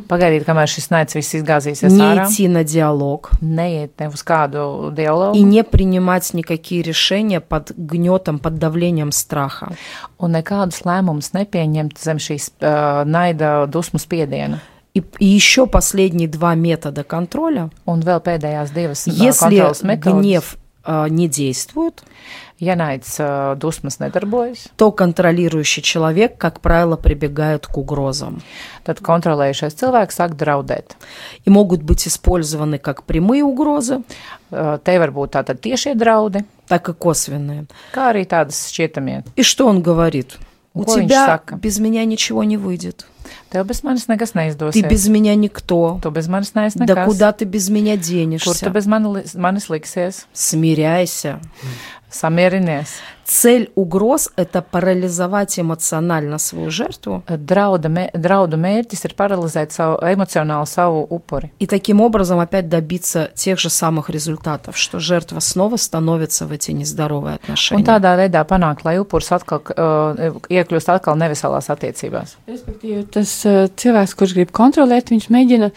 [SPEAKER 3] Pagaidīt, kamēr šis naids viss izgāzīsies
[SPEAKER 2] не
[SPEAKER 3] ārā.
[SPEAKER 2] идти на диалог
[SPEAKER 3] Neiet ne uz kādu
[SPEAKER 2] и
[SPEAKER 3] dialogu,
[SPEAKER 2] не принимать никакие решения под гнетом, под давлением страха.
[SPEAKER 3] un nekādus lēmumus nepieņemt zem šīs uh, naida dusmu spiediena.
[SPEAKER 2] И, еще последние два метода контроля.
[SPEAKER 3] Un vēl pēdējās divas ā,
[SPEAKER 2] Если
[SPEAKER 3] kontrolas metodas.
[SPEAKER 2] гнев а, не действует,
[SPEAKER 3] Ja naids uh, dusmas nedarbojas,
[SPEAKER 2] то контролирующий человек, как правило, прибегает к угrозам.
[SPEAKER 3] tad kontrolējušais cilvēks sāk draudēt.
[SPEAKER 2] И могут быть использованы как прямые угрозы,
[SPEAKER 3] Uh, te var būt tātad tiešie draudi,
[SPEAKER 2] так и косвенные.
[SPEAKER 3] kā arī tādas šķietamie.
[SPEAKER 2] И что он говорит? У
[SPEAKER 3] Ой,
[SPEAKER 2] тебя
[SPEAKER 3] Исака.
[SPEAKER 2] без меня ничего не выйdet.
[SPEAKER 3] Tev bez manis nekas
[SPEAKER 2] Ты
[SPEAKER 3] neizdosies.
[SPEAKER 2] без меня никто.
[SPEAKER 3] Tu bez manis neesi nekas.
[SPEAKER 2] Да куда ты без меня
[SPEAKER 3] Kur tu
[SPEAKER 2] денешься?
[SPEAKER 3] bez mani, li- manis liksies?
[SPEAKER 2] Смиряйся.
[SPEAKER 3] Samierinies.
[SPEAKER 2] Цель угроз – это парализовать эмоционально свою жертву
[SPEAKER 3] Drauda, mē, draudu mērķis ir paralizēt savu, emocionāli savu upuri.
[SPEAKER 2] и таким образом опять добиться тех же самых результатов, что жертва снова становится в эти нездоровые
[SPEAKER 3] Un
[SPEAKER 2] отношения.
[SPEAKER 3] tādā veidā panākt, lai upuris atkal uh, iekļūst atkal neveselās attiecībās.
[SPEAKER 1] Respektīvi, tas eh, cilvēks, kurš grib kontrolēt, viņš mēģina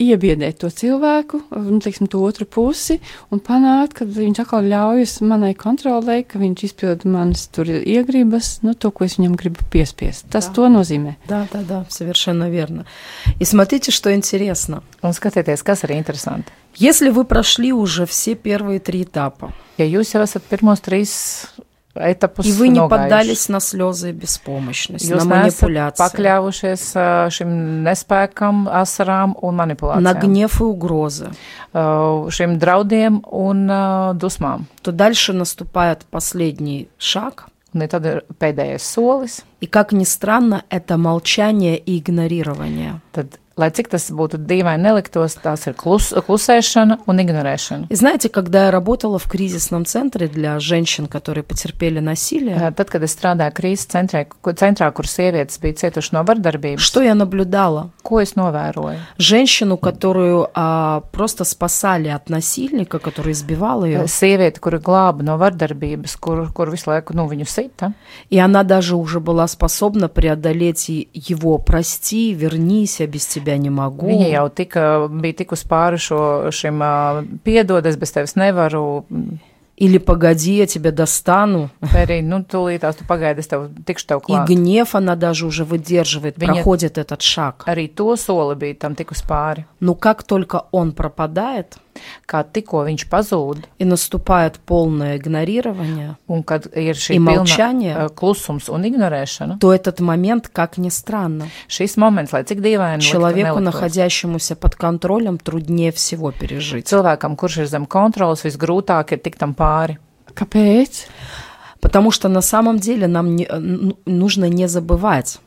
[SPEAKER 1] iebiedēt to cilvēku, eh, nu, teiksim, to otru pusi, un panākt, ka viņš atkal ļaujas manai kontrolē, ka viņš izpild manas tur iegribas, nu, to, ko es viņam gribu piespiest. Tas to nozīmē.
[SPEAKER 2] Да, да, да, совершенно верно. И смотрите, что интересно.
[SPEAKER 3] Un skatieties, kas ir interesanti.
[SPEAKER 2] Если вы прошли уже все первые три этапа,
[SPEAKER 3] Ja jūs jau esat pirmos trīs etapus
[SPEAKER 2] и вы не
[SPEAKER 3] nogājuši,
[SPEAKER 2] поддались на слезы и беспомощность, на
[SPEAKER 3] jūs neesat
[SPEAKER 2] манипуляции,
[SPEAKER 3] pakļāvušies uh, šim nespēkam, asarām un
[SPEAKER 2] на
[SPEAKER 3] manipulācijām,
[SPEAKER 2] гнев и угрозы,
[SPEAKER 3] uh, šiem draudiem un uh, dusmām.
[SPEAKER 2] то дальше наступает последний шаг.
[SPEAKER 3] Un ja tad ir pēdējais solis.
[SPEAKER 2] И, как ни странно, это молчание и игнорирование.
[SPEAKER 3] Tad, lai cik tas būtu dīvaini neliktos, tās ir klus, klusēšana un ignorēšana.
[SPEAKER 2] И знаете, когда я работала в кризисном центре для женщин, которые потерпели насилие,
[SPEAKER 3] Tad, kad es strādāju krīzes centrē, ku- centrā, kur sievietes bija cietuši no vardarbības,
[SPEAKER 2] что я наблюдала?
[SPEAKER 3] ko es novēroju?
[SPEAKER 2] Женщину, которую а, просто спасали от насильника, который избивал
[SPEAKER 3] Э,
[SPEAKER 2] ее,
[SPEAKER 3] Sieviete, kuru glāba no vardarbības, kuru, kuru visu laiku nu, viņu sita,
[SPEAKER 2] и она даже уже была способна преодолеть и его «прости, вернись, я без тебя не могу».
[SPEAKER 3] viņa jau tika, bija tikus pāri šo, šim ā, piedod, es bez tevis nevaru,
[SPEAKER 2] Или «погоди, я тебя достану».
[SPEAKER 3] vai arī, nu, tūlītās tu pagaidi, es tev tikšu tev
[SPEAKER 2] И
[SPEAKER 3] klāt.
[SPEAKER 2] гнев она даже уже выдерживает,
[SPEAKER 3] Виня-
[SPEAKER 2] проходит этот шаг.
[SPEAKER 3] Arī to soli bija tam tikus pāri.
[SPEAKER 2] Но как только он пропадает,
[SPEAKER 3] Kā tikko viņš pazūd,
[SPEAKER 2] и наступает полное игнорирование,
[SPEAKER 3] un kad ir šī
[SPEAKER 2] И
[SPEAKER 3] pilna,
[SPEAKER 2] молчание.
[SPEAKER 3] ā, klusums un ignorēšana,
[SPEAKER 2] то этот момент, как ни странно,
[SPEAKER 3] šis moments, lai cik dīvaini
[SPEAKER 2] человеку,
[SPEAKER 3] liktu- neliktos,
[SPEAKER 2] находящемуся под контролем, труднее всего пережить.
[SPEAKER 3] cilvēkam, kurš ir zem kontrolas, visgrūtāk ir tikt tam pāri.
[SPEAKER 1] Kāpēc?
[SPEAKER 2] Потому что на самом деле нам не- н- нужно не забывать,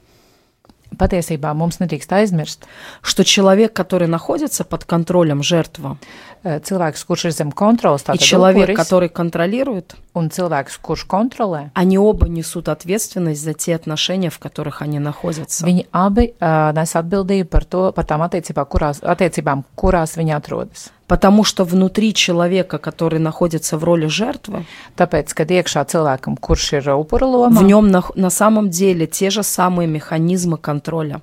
[SPEAKER 3] Patiesībā mums nedrīkst aizmirst,
[SPEAKER 2] что человек, который находится под контролем жертва,
[SPEAKER 3] ā, eh, cilvēks, kurš ir zem kontrolas,
[SPEAKER 2] и
[SPEAKER 3] tātad
[SPEAKER 2] человек,
[SPEAKER 3] upuris,
[SPEAKER 2] который контролирует,
[SPEAKER 3] un cilvēks, kurš kontrolē,
[SPEAKER 2] они оба несут ответственность за те отношения, в которых они находятся.
[SPEAKER 3] viņi abi uh, nes atbildību par, to, par tām attiecībām kurās, attiecībām, kurās viņi atrodas.
[SPEAKER 2] Потому что внутри человека, который находится в роли жертвы,
[SPEAKER 3] Tāpēc, kad iekšā cilvēkam, kurš ir upura lomā,
[SPEAKER 2] в нем на, на самом деле те же самые механизмы контроля,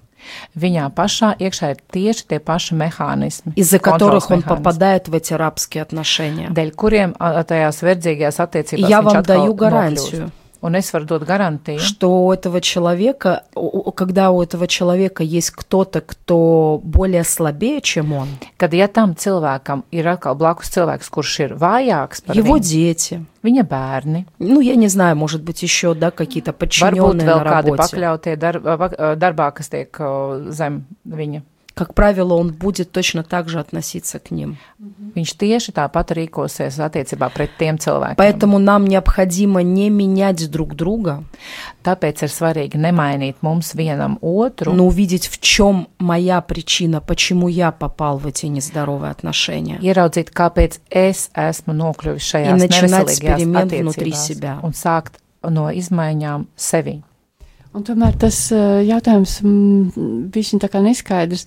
[SPEAKER 3] viņā pašā iekšā ir tieši tie paši mehānismi,
[SPEAKER 2] из-за
[SPEAKER 3] kontrols
[SPEAKER 2] которых он
[SPEAKER 3] mehānismi,
[SPEAKER 2] попадает в эти рабские отношения.
[SPEAKER 3] dēļ kuriem ā, tajās verdzīgajās attiecībās
[SPEAKER 2] Я
[SPEAKER 3] viņš
[SPEAKER 2] вам
[SPEAKER 3] atkal
[SPEAKER 2] даю гарантию,
[SPEAKER 3] nokļūst. Un es varu dot garantiju,
[SPEAKER 2] что у этого человека, у- у- когда у этого человека есть кто-то, кто более слабее, чем он,
[SPEAKER 3] ka, ja tam cilvēkam ir atkal blakus cilvēks, kurš ir vājāks par
[SPEAKER 2] его
[SPEAKER 3] viņu,
[SPEAKER 2] дети,
[SPEAKER 3] viņa бērni,
[SPEAKER 2] ну, я не знаю, может быть, еще, да, какие-то
[SPEAKER 3] varbūt
[SPEAKER 2] подчиненные
[SPEAKER 3] vēl
[SPEAKER 2] на
[SPEAKER 3] kādi
[SPEAKER 2] работе,
[SPEAKER 3] pakļautie darb, darbā, kas tiek ā, zem viņa.
[SPEAKER 2] как правило, он будет точно так же относиться к ним.
[SPEAKER 3] Viņš tieši tāpat rīkosies attiecībā pret tiem cilvēkiem.
[SPEAKER 2] Поэтому нам необходимо не менять друг друга,
[SPEAKER 3] Tāpēc ir svarīgi nemainīt mums vienam otru,
[SPEAKER 2] но увидеть, в чем моя причина, почему я попал в эти нездоровые отношения.
[SPEAKER 3] ieraudzīt, kāpēc es esmu nokļuvis šajā
[SPEAKER 2] Ja načināt eksperiment внутри
[SPEAKER 3] situācijā
[SPEAKER 2] себя.
[SPEAKER 3] un sākt no izmaiņām sevi.
[SPEAKER 1] Un tomēr tas eh, jautājums bija tā kā neskaidrs.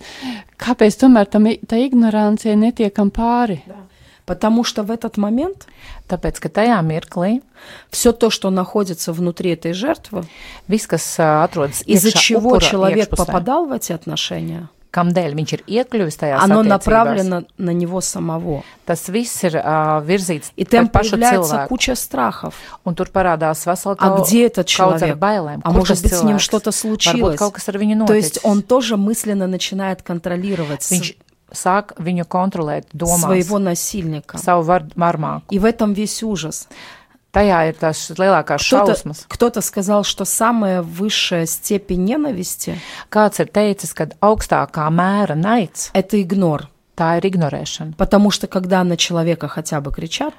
[SPEAKER 1] Kāpēc tomēr tam i- tā ignorancija netiekam pāri?
[SPEAKER 2] Потому что в этот момент
[SPEAKER 3] Tāpēc, ka tajā mirklī
[SPEAKER 2] все то, что находится внутри этой жертвы,
[SPEAKER 3] viss, kas ā, atrodas
[SPEAKER 2] из-за
[SPEAKER 3] iekšā
[SPEAKER 2] чего
[SPEAKER 3] upura
[SPEAKER 2] человек
[SPEAKER 3] iekšpusē,
[SPEAKER 2] попадал в эти отношения,
[SPEAKER 3] kamdēļ viņš ir iekļuvis tajā
[SPEAKER 2] оно
[SPEAKER 3] attiecībās,
[SPEAKER 2] направлено на него самого.
[SPEAKER 3] tas viss ir uh, virzīts
[SPEAKER 2] И
[SPEAKER 3] pret
[SPEAKER 2] там
[SPEAKER 3] pašu
[SPEAKER 2] появляется
[SPEAKER 3] cilvēku,
[SPEAKER 2] куча страхов.
[SPEAKER 3] un tur parādās vesela
[SPEAKER 2] А
[SPEAKER 3] kau-
[SPEAKER 2] где этот
[SPEAKER 3] kaudze ar
[SPEAKER 2] человек?
[SPEAKER 3] bailēm,
[SPEAKER 2] А
[SPEAKER 3] kur
[SPEAKER 2] может
[SPEAKER 3] tas
[SPEAKER 2] быть, с ним
[SPEAKER 3] cilvēks?
[SPEAKER 2] что-то
[SPEAKER 3] Varbūt
[SPEAKER 2] случилось?
[SPEAKER 3] kaut kas ar viņu
[SPEAKER 2] То есть
[SPEAKER 3] noticis.
[SPEAKER 2] он тоже мысленно начинает контролировать с-
[SPEAKER 3] Viņš sāk viņu kontrolēt domās,
[SPEAKER 2] своего насильника.
[SPEAKER 3] savu var- varmāku.
[SPEAKER 2] И в этом весь ужас.
[SPEAKER 3] Tajā ir tās lielākās
[SPEAKER 2] Кто-то,
[SPEAKER 3] šausmas.
[SPEAKER 2] кто-то сказал, что самая высшая степень ненависти
[SPEAKER 3] Kāds ir teicis, ka augstākā mēra naids
[SPEAKER 2] – это игнор.
[SPEAKER 3] tā ir ignorēšana.
[SPEAKER 2] Потому что когда на человека хотя бы кричат,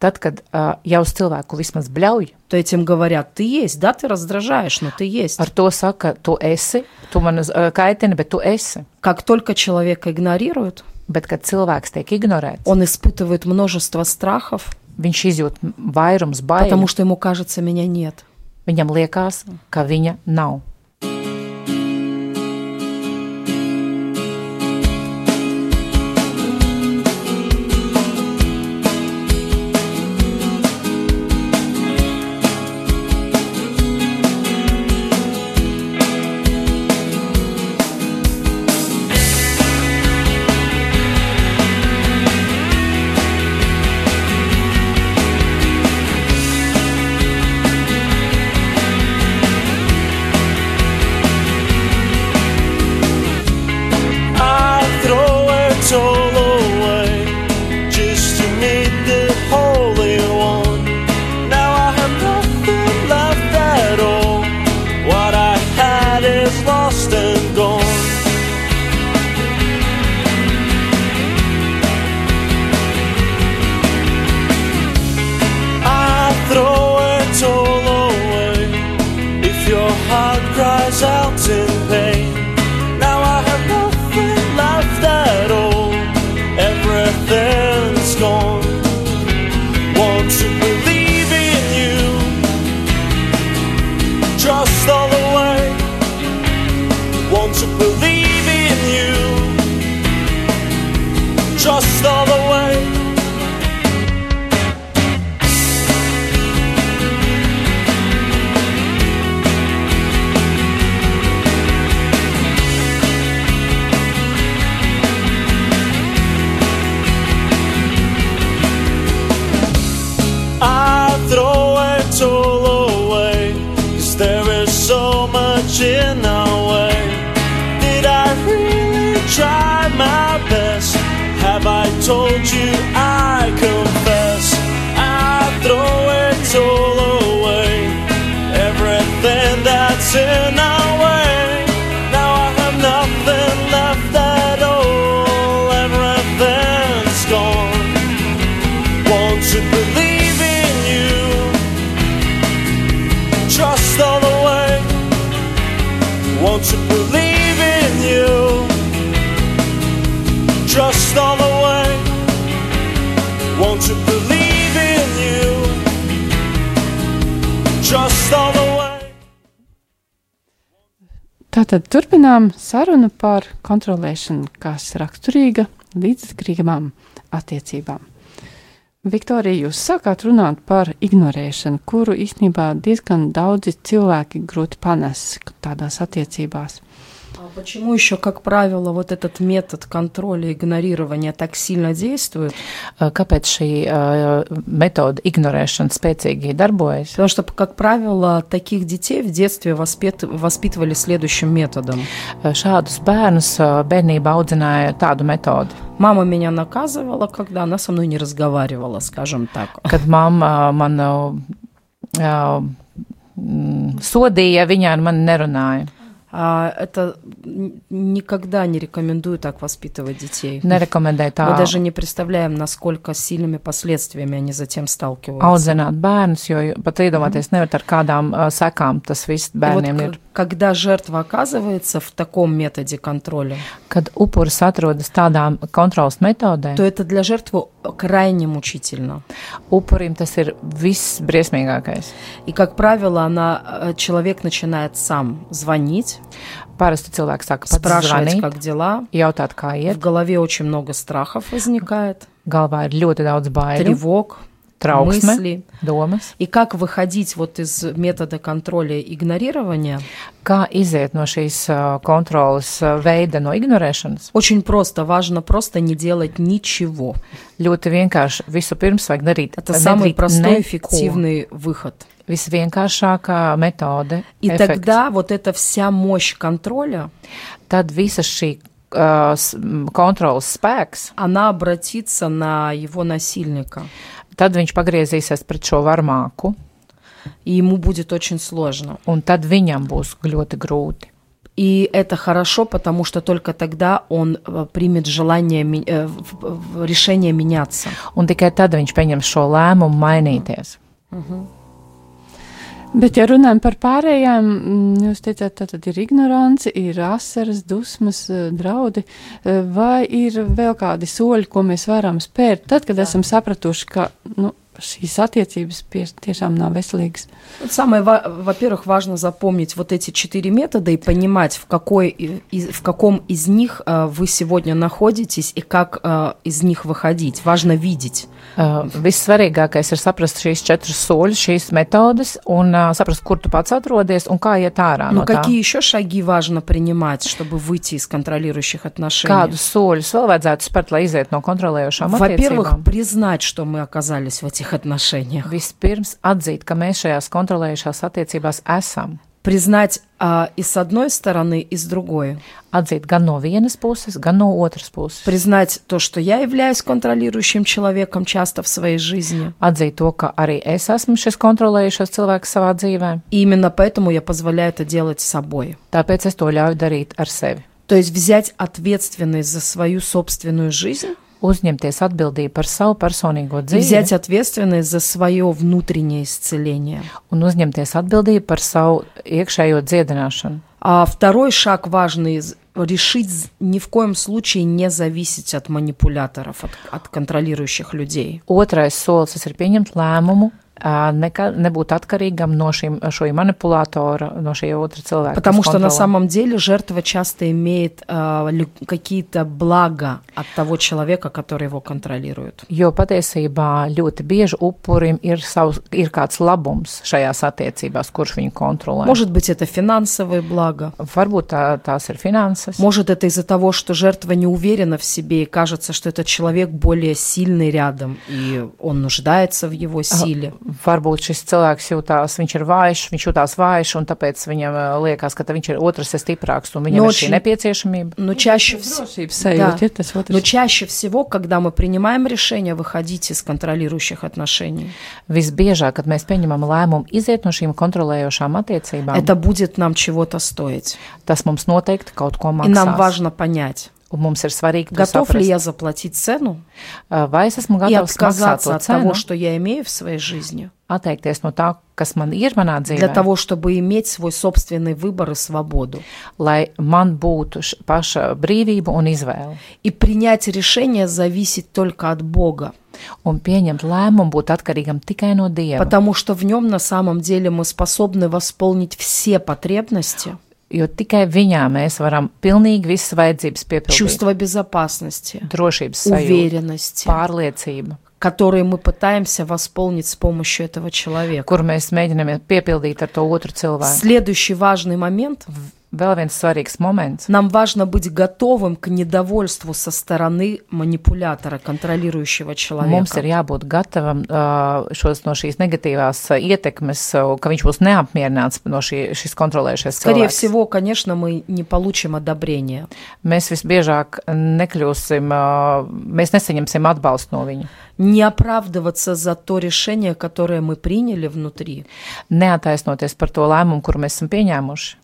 [SPEAKER 3] Tad, kad uh, jau uz cilvēku vismaz bļauj,
[SPEAKER 2] то этим говорят, ты есть, да, ты раздражаешь, но ты есть.
[SPEAKER 3] ar to saka, tu esi, tu man uh, kaitini, bet tu esi.
[SPEAKER 2] Как только человека игнорируют,
[SPEAKER 3] Bet, kad cilvēks tiek ignorēts,
[SPEAKER 2] он испытывает множество страхов,
[SPEAKER 3] viņš izjūt vairums
[SPEAKER 2] потому
[SPEAKER 3] bailes.
[SPEAKER 2] что ему кажется, меня нет.
[SPEAKER 3] Viņam liekas, ka viņa nav.
[SPEAKER 4] I throw it all away just to meet the Holy One. Now I have nothing left at all. What I had is lost and gone. I throw it all away if your heart cries out in pain. Now I have nothing left at all. Everything's gone. Want to believe in you. Trust all the way. Want to believe in you. Trust all the way. I throw it all away. Cause there is so much in our way. Did I really try my best? Have I told you I confess? I throw it all away. Everything that's in our way. Now I have nothing left at all. Everything's gone want to believe in you. Trust all the way. Want to believe in you. Trust all the way. Want to believe in you. Trust all the way.
[SPEAKER 1] Tātad turpinām sarunu par kontrolēšanu, kas raksturīga līdzgrībām attiecībām. Viktorija, jūs sākāt runāt par ignorēšanu, kuru īstenībā diezgan daudzi cilvēki grūti panes tādās attiecībās.
[SPEAKER 2] А почему еще, как правило, вот этот метод контроля и игнорирования так сильно действует?
[SPEAKER 3] Uh, Kāpēc šī uh, metode ignorēšana spēcīgi darbojas?
[SPEAKER 2] Потому что, как правило, таких детей в детстве воспет- воспитывали следующим методом.
[SPEAKER 3] Uh, Šādus bērnus uh, bērnībā audzināja tādu metodi,
[SPEAKER 2] Мама меня наказывала, когда она со мной не разговаривала, скажем так.
[SPEAKER 3] kad mamma man uh, uh, mm, sodīja, viņa ar mani nerunāja.
[SPEAKER 2] А, Это н- никогда не рекомендую так воспитывать детей. Мы
[SPEAKER 3] Nerekomendēju tādu
[SPEAKER 2] даже не представляем, насколько сильными последствиями они затем
[SPEAKER 3] А
[SPEAKER 2] сталкиваются.
[SPEAKER 3] audzināt bērnus, jo jo pat iedomāties nevar ar кādām ā, sekām tas viss
[SPEAKER 2] И вот
[SPEAKER 3] bērniem
[SPEAKER 2] к-
[SPEAKER 3] ir.
[SPEAKER 2] когда жертва оказывается в таком методе контроля,
[SPEAKER 3] Kad upuris atrodas tādām kontrolas metodēm,
[SPEAKER 2] то это для жертвы крайне мучительно.
[SPEAKER 3] upurim tas ir viss briesmīgākais.
[SPEAKER 2] И, как правило, она, э, человек начинает сам звонить,
[SPEAKER 3] Parasti cilvēks saka, pats
[SPEAKER 2] спрашивать,
[SPEAKER 3] zvanīt,
[SPEAKER 2] как дела.
[SPEAKER 3] jautāt, kā
[SPEAKER 2] В
[SPEAKER 3] iet.
[SPEAKER 2] голове очень много страхов возникает,
[SPEAKER 3] Galvā ir ļoti daudz bailju,
[SPEAKER 2] тревог,
[SPEAKER 3] trauksme,
[SPEAKER 2] мысли.
[SPEAKER 3] domas.
[SPEAKER 2] И как выходить вот из метода контроля и игнорирования?
[SPEAKER 3] Kā iziet no šīs ā, kontrolas ā, veida, no ignorēšanas?
[SPEAKER 2] Очень просто, важно просто не делать ничего.
[SPEAKER 3] Ļoti vienkārši vispirms vajag darīt
[SPEAKER 2] Это самый
[SPEAKER 3] nedarīt
[SPEAKER 2] простой,
[SPEAKER 3] neko.
[SPEAKER 2] эффективный выход.
[SPEAKER 3] Visvienkāršākā metode.
[SPEAKER 2] И
[SPEAKER 3] efekts.
[SPEAKER 2] тогда вот эта вся мощь контроля,
[SPEAKER 3] tad visa šī uh, s- m, kontrolas spēks,
[SPEAKER 2] она обратится на его насильника.
[SPEAKER 3] tad viņš pagriezīsies pret šo varmāku,
[SPEAKER 2] И ему будет очень сложно.
[SPEAKER 3] un tad viņam būs ļoti grūti.
[SPEAKER 2] И это хорошо, потому что только тогда он э, примет желание, ми- э, в- в- решение меняться.
[SPEAKER 3] Un tikai tad viņš pieņems šo lēmumu mainīties.
[SPEAKER 1] Bet, ja runājam par pārējām, mm, jūs teicāt, tā tad ir ignorance, ir asaras, dusmas, eh, draudi, eh, vai ir vēl kādi soļi, ko mēs varam spērt, tad, kad esam sapratuši, ka nu, šīs attiecības pie, tiešām nav veselīgas.
[SPEAKER 2] Вот Самое, ва- во-первых, важно запомнить вот эти четыре метода и понимать, в, какой, и- из- в каком из них э, вы сегодня находитесь и как э, из них выходить. Важно видеть.
[SPEAKER 3] Uh, Vissvarīgākais ir saprast šīs četras soļus, šīs metodes, un uh, saprast, kur tu pats atrodies un kā iet ārā.
[SPEAKER 2] Но
[SPEAKER 3] no tā.
[SPEAKER 2] Ну, какие еще шаги важно принимать, чтобы выйти из контролирующих отношений?
[SPEAKER 3] Kādus soļus vēl vajadzētu spērt, lai iziet no kontrolējošām
[SPEAKER 2] Во-первых,
[SPEAKER 3] attiecībām?
[SPEAKER 2] признать, что мы оказались в этих отношениях.
[SPEAKER 3] Vispirms atzīt, ka mēs šajās kontrolējošās attiecībās esam.
[SPEAKER 2] Признать а, и с одной стороны, и с другой.
[SPEAKER 3] Atzīt gan no vienas puses, gan no otras puses.
[SPEAKER 2] Признать то, что я являюсь контролирующим человеком часто в своей жизни.
[SPEAKER 3] atzīt to, ka arī es esmu šis kontrolējušais cilvēks savā dzīvē,
[SPEAKER 2] И именно поэтому я позволяю это делать собой.
[SPEAKER 3] tāpēc es to ļauju darīt ar sevi.
[SPEAKER 2] То есть взять ответственность за свою собственную жизнь
[SPEAKER 3] Uzņemties atbildību par savu personīgo
[SPEAKER 2] и взять
[SPEAKER 3] dzīvi
[SPEAKER 2] ответственность за свое внутреннее исцеление.
[SPEAKER 3] un uzņemties atbildību par savu iekšējo dziedināšanu.
[SPEAKER 2] А второй шаг важный из- решить з- ни в коем случае не зависеть от манипуляторов, от, от контролирующих людей.
[SPEAKER 3] Otrais solis tas ir pieņemt lēmumu, ā, nekā, nebūt atkarīgam no šī, šo manipulātora, no šī otra cilvēka.
[SPEAKER 2] Потому
[SPEAKER 3] kas
[SPEAKER 2] что на
[SPEAKER 3] kontrolē.
[SPEAKER 2] самом деле жертва часто имеет а, лю- какие-то блага от того человека, который его контролирует.
[SPEAKER 3] Jo patiesībā ļoti bieži upurim ir, savs, ir kāds labums šajās attiecībās, kurš viņu kontrolē.
[SPEAKER 2] Может быть, это финансовые блага.
[SPEAKER 3] Varbūt tā, tās ir finanses.
[SPEAKER 2] Может, это из-за того, что жертва не уверена в себе и кажется, что этот человек более сильный рядом, и он нуждается в его силе.
[SPEAKER 3] Varbūt šis cilvēks jūtas, viņš ir vājš, viņš jūtas vājš, un tāpēc viņam eh, liekas, ka tā viņš ir otrs, ir stiprāks, un viņam ir šī
[SPEAKER 2] Nošķi-
[SPEAKER 3] nepieciešamība.
[SPEAKER 2] Но чаще, вс-
[SPEAKER 1] Drošības sajūta
[SPEAKER 2] Jā.
[SPEAKER 1] ir tas
[SPEAKER 2] но
[SPEAKER 1] otrs.
[SPEAKER 2] чаще всего, когда мы принимаем решение выходить из контролирующих отношений,
[SPEAKER 3] Visbiežāk, kad mēs pieņemam lēmumu iziet no šīm kontrolējošām attiecībām,
[SPEAKER 2] это будет нам чего-то стоить.
[SPEAKER 3] tas mums noteikti kaut ko
[SPEAKER 2] И нам
[SPEAKER 3] maksās.
[SPEAKER 2] важно понять,
[SPEAKER 3] Un mums ir svarīgi, to
[SPEAKER 2] готов ли
[SPEAKER 3] saprast,
[SPEAKER 2] я заплатить цену
[SPEAKER 3] eh, vai es esmu
[SPEAKER 2] и
[SPEAKER 3] gatavs maksāt
[SPEAKER 2] отказаться
[SPEAKER 3] to
[SPEAKER 2] от того,
[SPEAKER 3] cenu,
[SPEAKER 2] что я имею в своей жизни,
[SPEAKER 3] atteikties no tā, kas man ir manā
[SPEAKER 2] для
[SPEAKER 3] dzīvē,
[SPEAKER 2] того, чтобы иметь свой собственный выбор и свободу.
[SPEAKER 3] lai man būtu š- paša brīvība un izvēle.
[SPEAKER 2] И принять решение зависит только от Бога.
[SPEAKER 3] Un pieņemt lēmumu būt atkarīgam tikai no Dieva.
[SPEAKER 2] Потому что в нем на самом деле мы способны восполнить все потребности,
[SPEAKER 3] Jo tikai viņā mēs varam pilnīgi visas vajadzības piepildīt.
[SPEAKER 2] чувство безопасности,
[SPEAKER 3] Drošības sajūta,
[SPEAKER 2] уверенности,
[SPEAKER 3] pārliecība,
[SPEAKER 2] которые мы пытаемся восполнить с помощью этого человека.
[SPEAKER 3] kuru mēs mēģinām piepildīt ar to otru cilvēku.
[SPEAKER 2] Следующий важный момент.
[SPEAKER 3] Vēl viens svarīgs moments.
[SPEAKER 2] Нам важно быть готовым к недовольству со стороны манипулятора, контролирующего
[SPEAKER 3] Mums
[SPEAKER 2] человека.
[SPEAKER 3] ir jābūt gatavam ā, šos, no šīs negatīvās ā, ietekmes, ā, ka viņš būs neapmierināts no šī, šis kontrolējušais
[SPEAKER 2] Скорее
[SPEAKER 3] cilvēks.
[SPEAKER 2] всего, конечно, мы не получим одобрения.
[SPEAKER 3] Mēs visbiežāk nekļūsim, ā, mēs nesaņemsim atbalstu no viņa.
[SPEAKER 2] Не оправдываться за то решение, которое мы приняли внутри.
[SPEAKER 3] Neataisnoties par to lēmumu, kuru mēs esam pieņēmuši.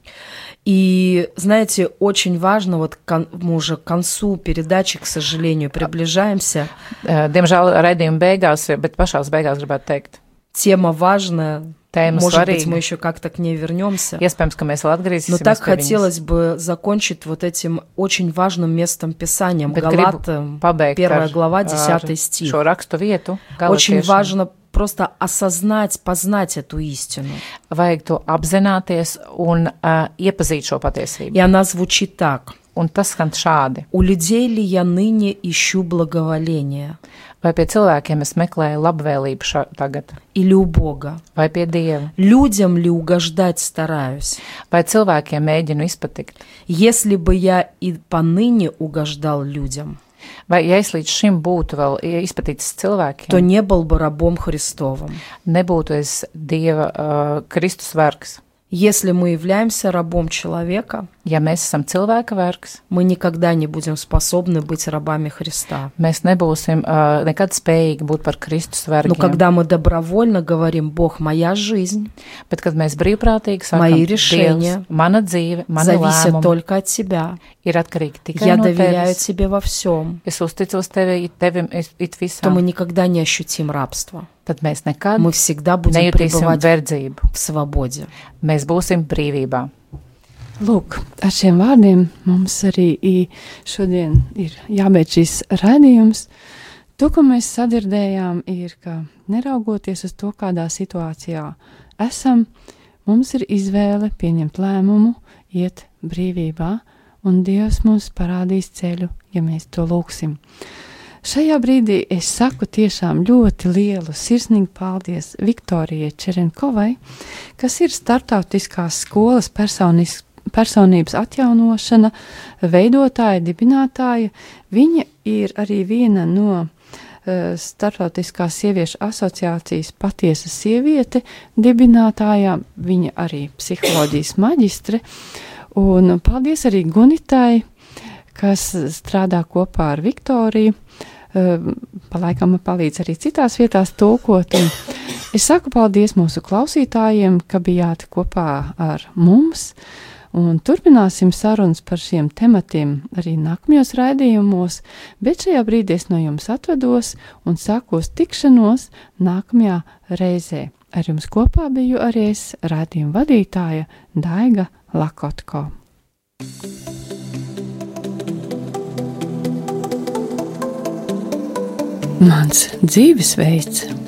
[SPEAKER 2] И И, знаете, очень важно, вот кон- мы уже к концу передачи, к сожалению, приближаемся.
[SPEAKER 3] Eh, Diemžēl raidījuma beigās, bet pašās beigās gribētu teikt.
[SPEAKER 2] Тема важная.
[SPEAKER 3] Тема
[SPEAKER 2] Может быть,
[SPEAKER 3] svarīga.
[SPEAKER 2] мы еще как-то к ней вернемся.
[SPEAKER 3] Iespējams, ka mēs vēl
[SPEAKER 2] Но
[SPEAKER 3] atgriezīsimies.
[SPEAKER 2] так
[SPEAKER 3] pie viņas.
[SPEAKER 2] хотелось бы закончить вот этим очень важным местом Писанием,
[SPEAKER 3] Bet gribu
[SPEAKER 2] Галатам,
[SPEAKER 3] pabeigt
[SPEAKER 2] первая
[SPEAKER 3] ar-
[SPEAKER 2] глава,
[SPEAKER 3] ar
[SPEAKER 2] 10 стих.
[SPEAKER 3] Šo rakstu vietu.
[SPEAKER 2] Очень
[SPEAKER 3] Galotiešiem.
[SPEAKER 2] важно просто осознать, познать эту истину.
[SPEAKER 3] Vajag to apzināties un uh, iepazīt šo patiesību.
[SPEAKER 2] И она звучит так.
[SPEAKER 3] Un tas skan šādi.
[SPEAKER 2] «У людей ли я ныне ищу благоволение?
[SPEAKER 3] Vai pie cilvēkiem es meklēju labvēlību šā, tagad,
[SPEAKER 2] Или у Бога?
[SPEAKER 3] vai pie dieva,
[SPEAKER 2] Людям ли угождать стараюсь?
[SPEAKER 3] vai cilvēkiem mēģinu izpatikt?
[SPEAKER 2] Если бы я и поныне угождал людям,
[SPEAKER 3] Vai ja es līdz šim būtu vēl izpaticis cilvēkiem,
[SPEAKER 2] то не был бы рабом Христовым.
[SPEAKER 3] nebūtu es dieva uh, Kristus vergs.
[SPEAKER 2] Если мы являемся рабом человека,
[SPEAKER 3] Ja mēs esam cilvēka vergs,
[SPEAKER 2] мы никогда не будем способны быть рабами Христа.
[SPEAKER 3] mēs nebūsim uh, nekad spējīgi būt par Kristus vergu.
[SPEAKER 2] Но когда мы добровольно говорим, Бог, моя жизнь
[SPEAKER 3] Bet, kad mēs brīvprātīgi
[SPEAKER 2] Maji
[SPEAKER 3] sakām,
[SPEAKER 2] rišeņi
[SPEAKER 3] Dievs, mana dzīve, mana
[SPEAKER 2] зависит
[SPEAKER 3] lēmuma
[SPEAKER 2] только от Тебя.
[SPEAKER 3] ir atkarīga tikai
[SPEAKER 2] Я
[SPEAKER 3] no
[SPEAKER 2] доверяю
[SPEAKER 3] tevis.
[SPEAKER 2] Тебе во всем.
[SPEAKER 3] Es uzticos tevi, tevim es- it
[SPEAKER 2] То мы
[SPEAKER 3] visam.
[SPEAKER 2] никогда не ощутим рабство.
[SPEAKER 3] Tad mēs nekad
[SPEAKER 2] Мы всегда будем
[SPEAKER 3] nejutīsim
[SPEAKER 2] пребывать
[SPEAKER 3] verdzību.
[SPEAKER 2] в свободе.
[SPEAKER 3] Mēs būsim brīvībā.
[SPEAKER 1] Lūk, ar šiem vārdiem mums arī i- šodien ir jābeidz šis redzējums. To, ko mēs sadzirdējām, ir, ka neraugoties uz to, kādā situācijā esam, mums ir izvēle pieņemt lēmumu, iet brīvībā, un Dievs mums parādīs ceļu, ja mēs to lūgsim. Šajā brīdī es saku tiešām ļoti lielu sirsnīgu paldies Viktorijai Čerenkovai, kas ir startautiskās skolas personis, personības atjaunošana, veidotāja, dibinātāja. Viņa ir arī viena no eh, Startautiskās sieviešu asociācijas patiesa sieviete, dibinātājām, viņa arī psiholoģijas maģistre. Un paldies arī Gunitai, kas strādā kopā ar Viktoriju. Eh, Pa laikam man palīdz arī citās vietās tulkot. Un Es saku paldies mūsu klausītājiem, ka bijāt kopā ar mums. Un turpināsim sarunas par šiem tematiem arī nākamajos raidījumos, bet šajā brīdī es no jums atvados un sākos tikšanos nākamajā reizē. Ar jums kopā biju arī es raidījuma vadītāja Daiga Lakotko. Mans dzīvesveids!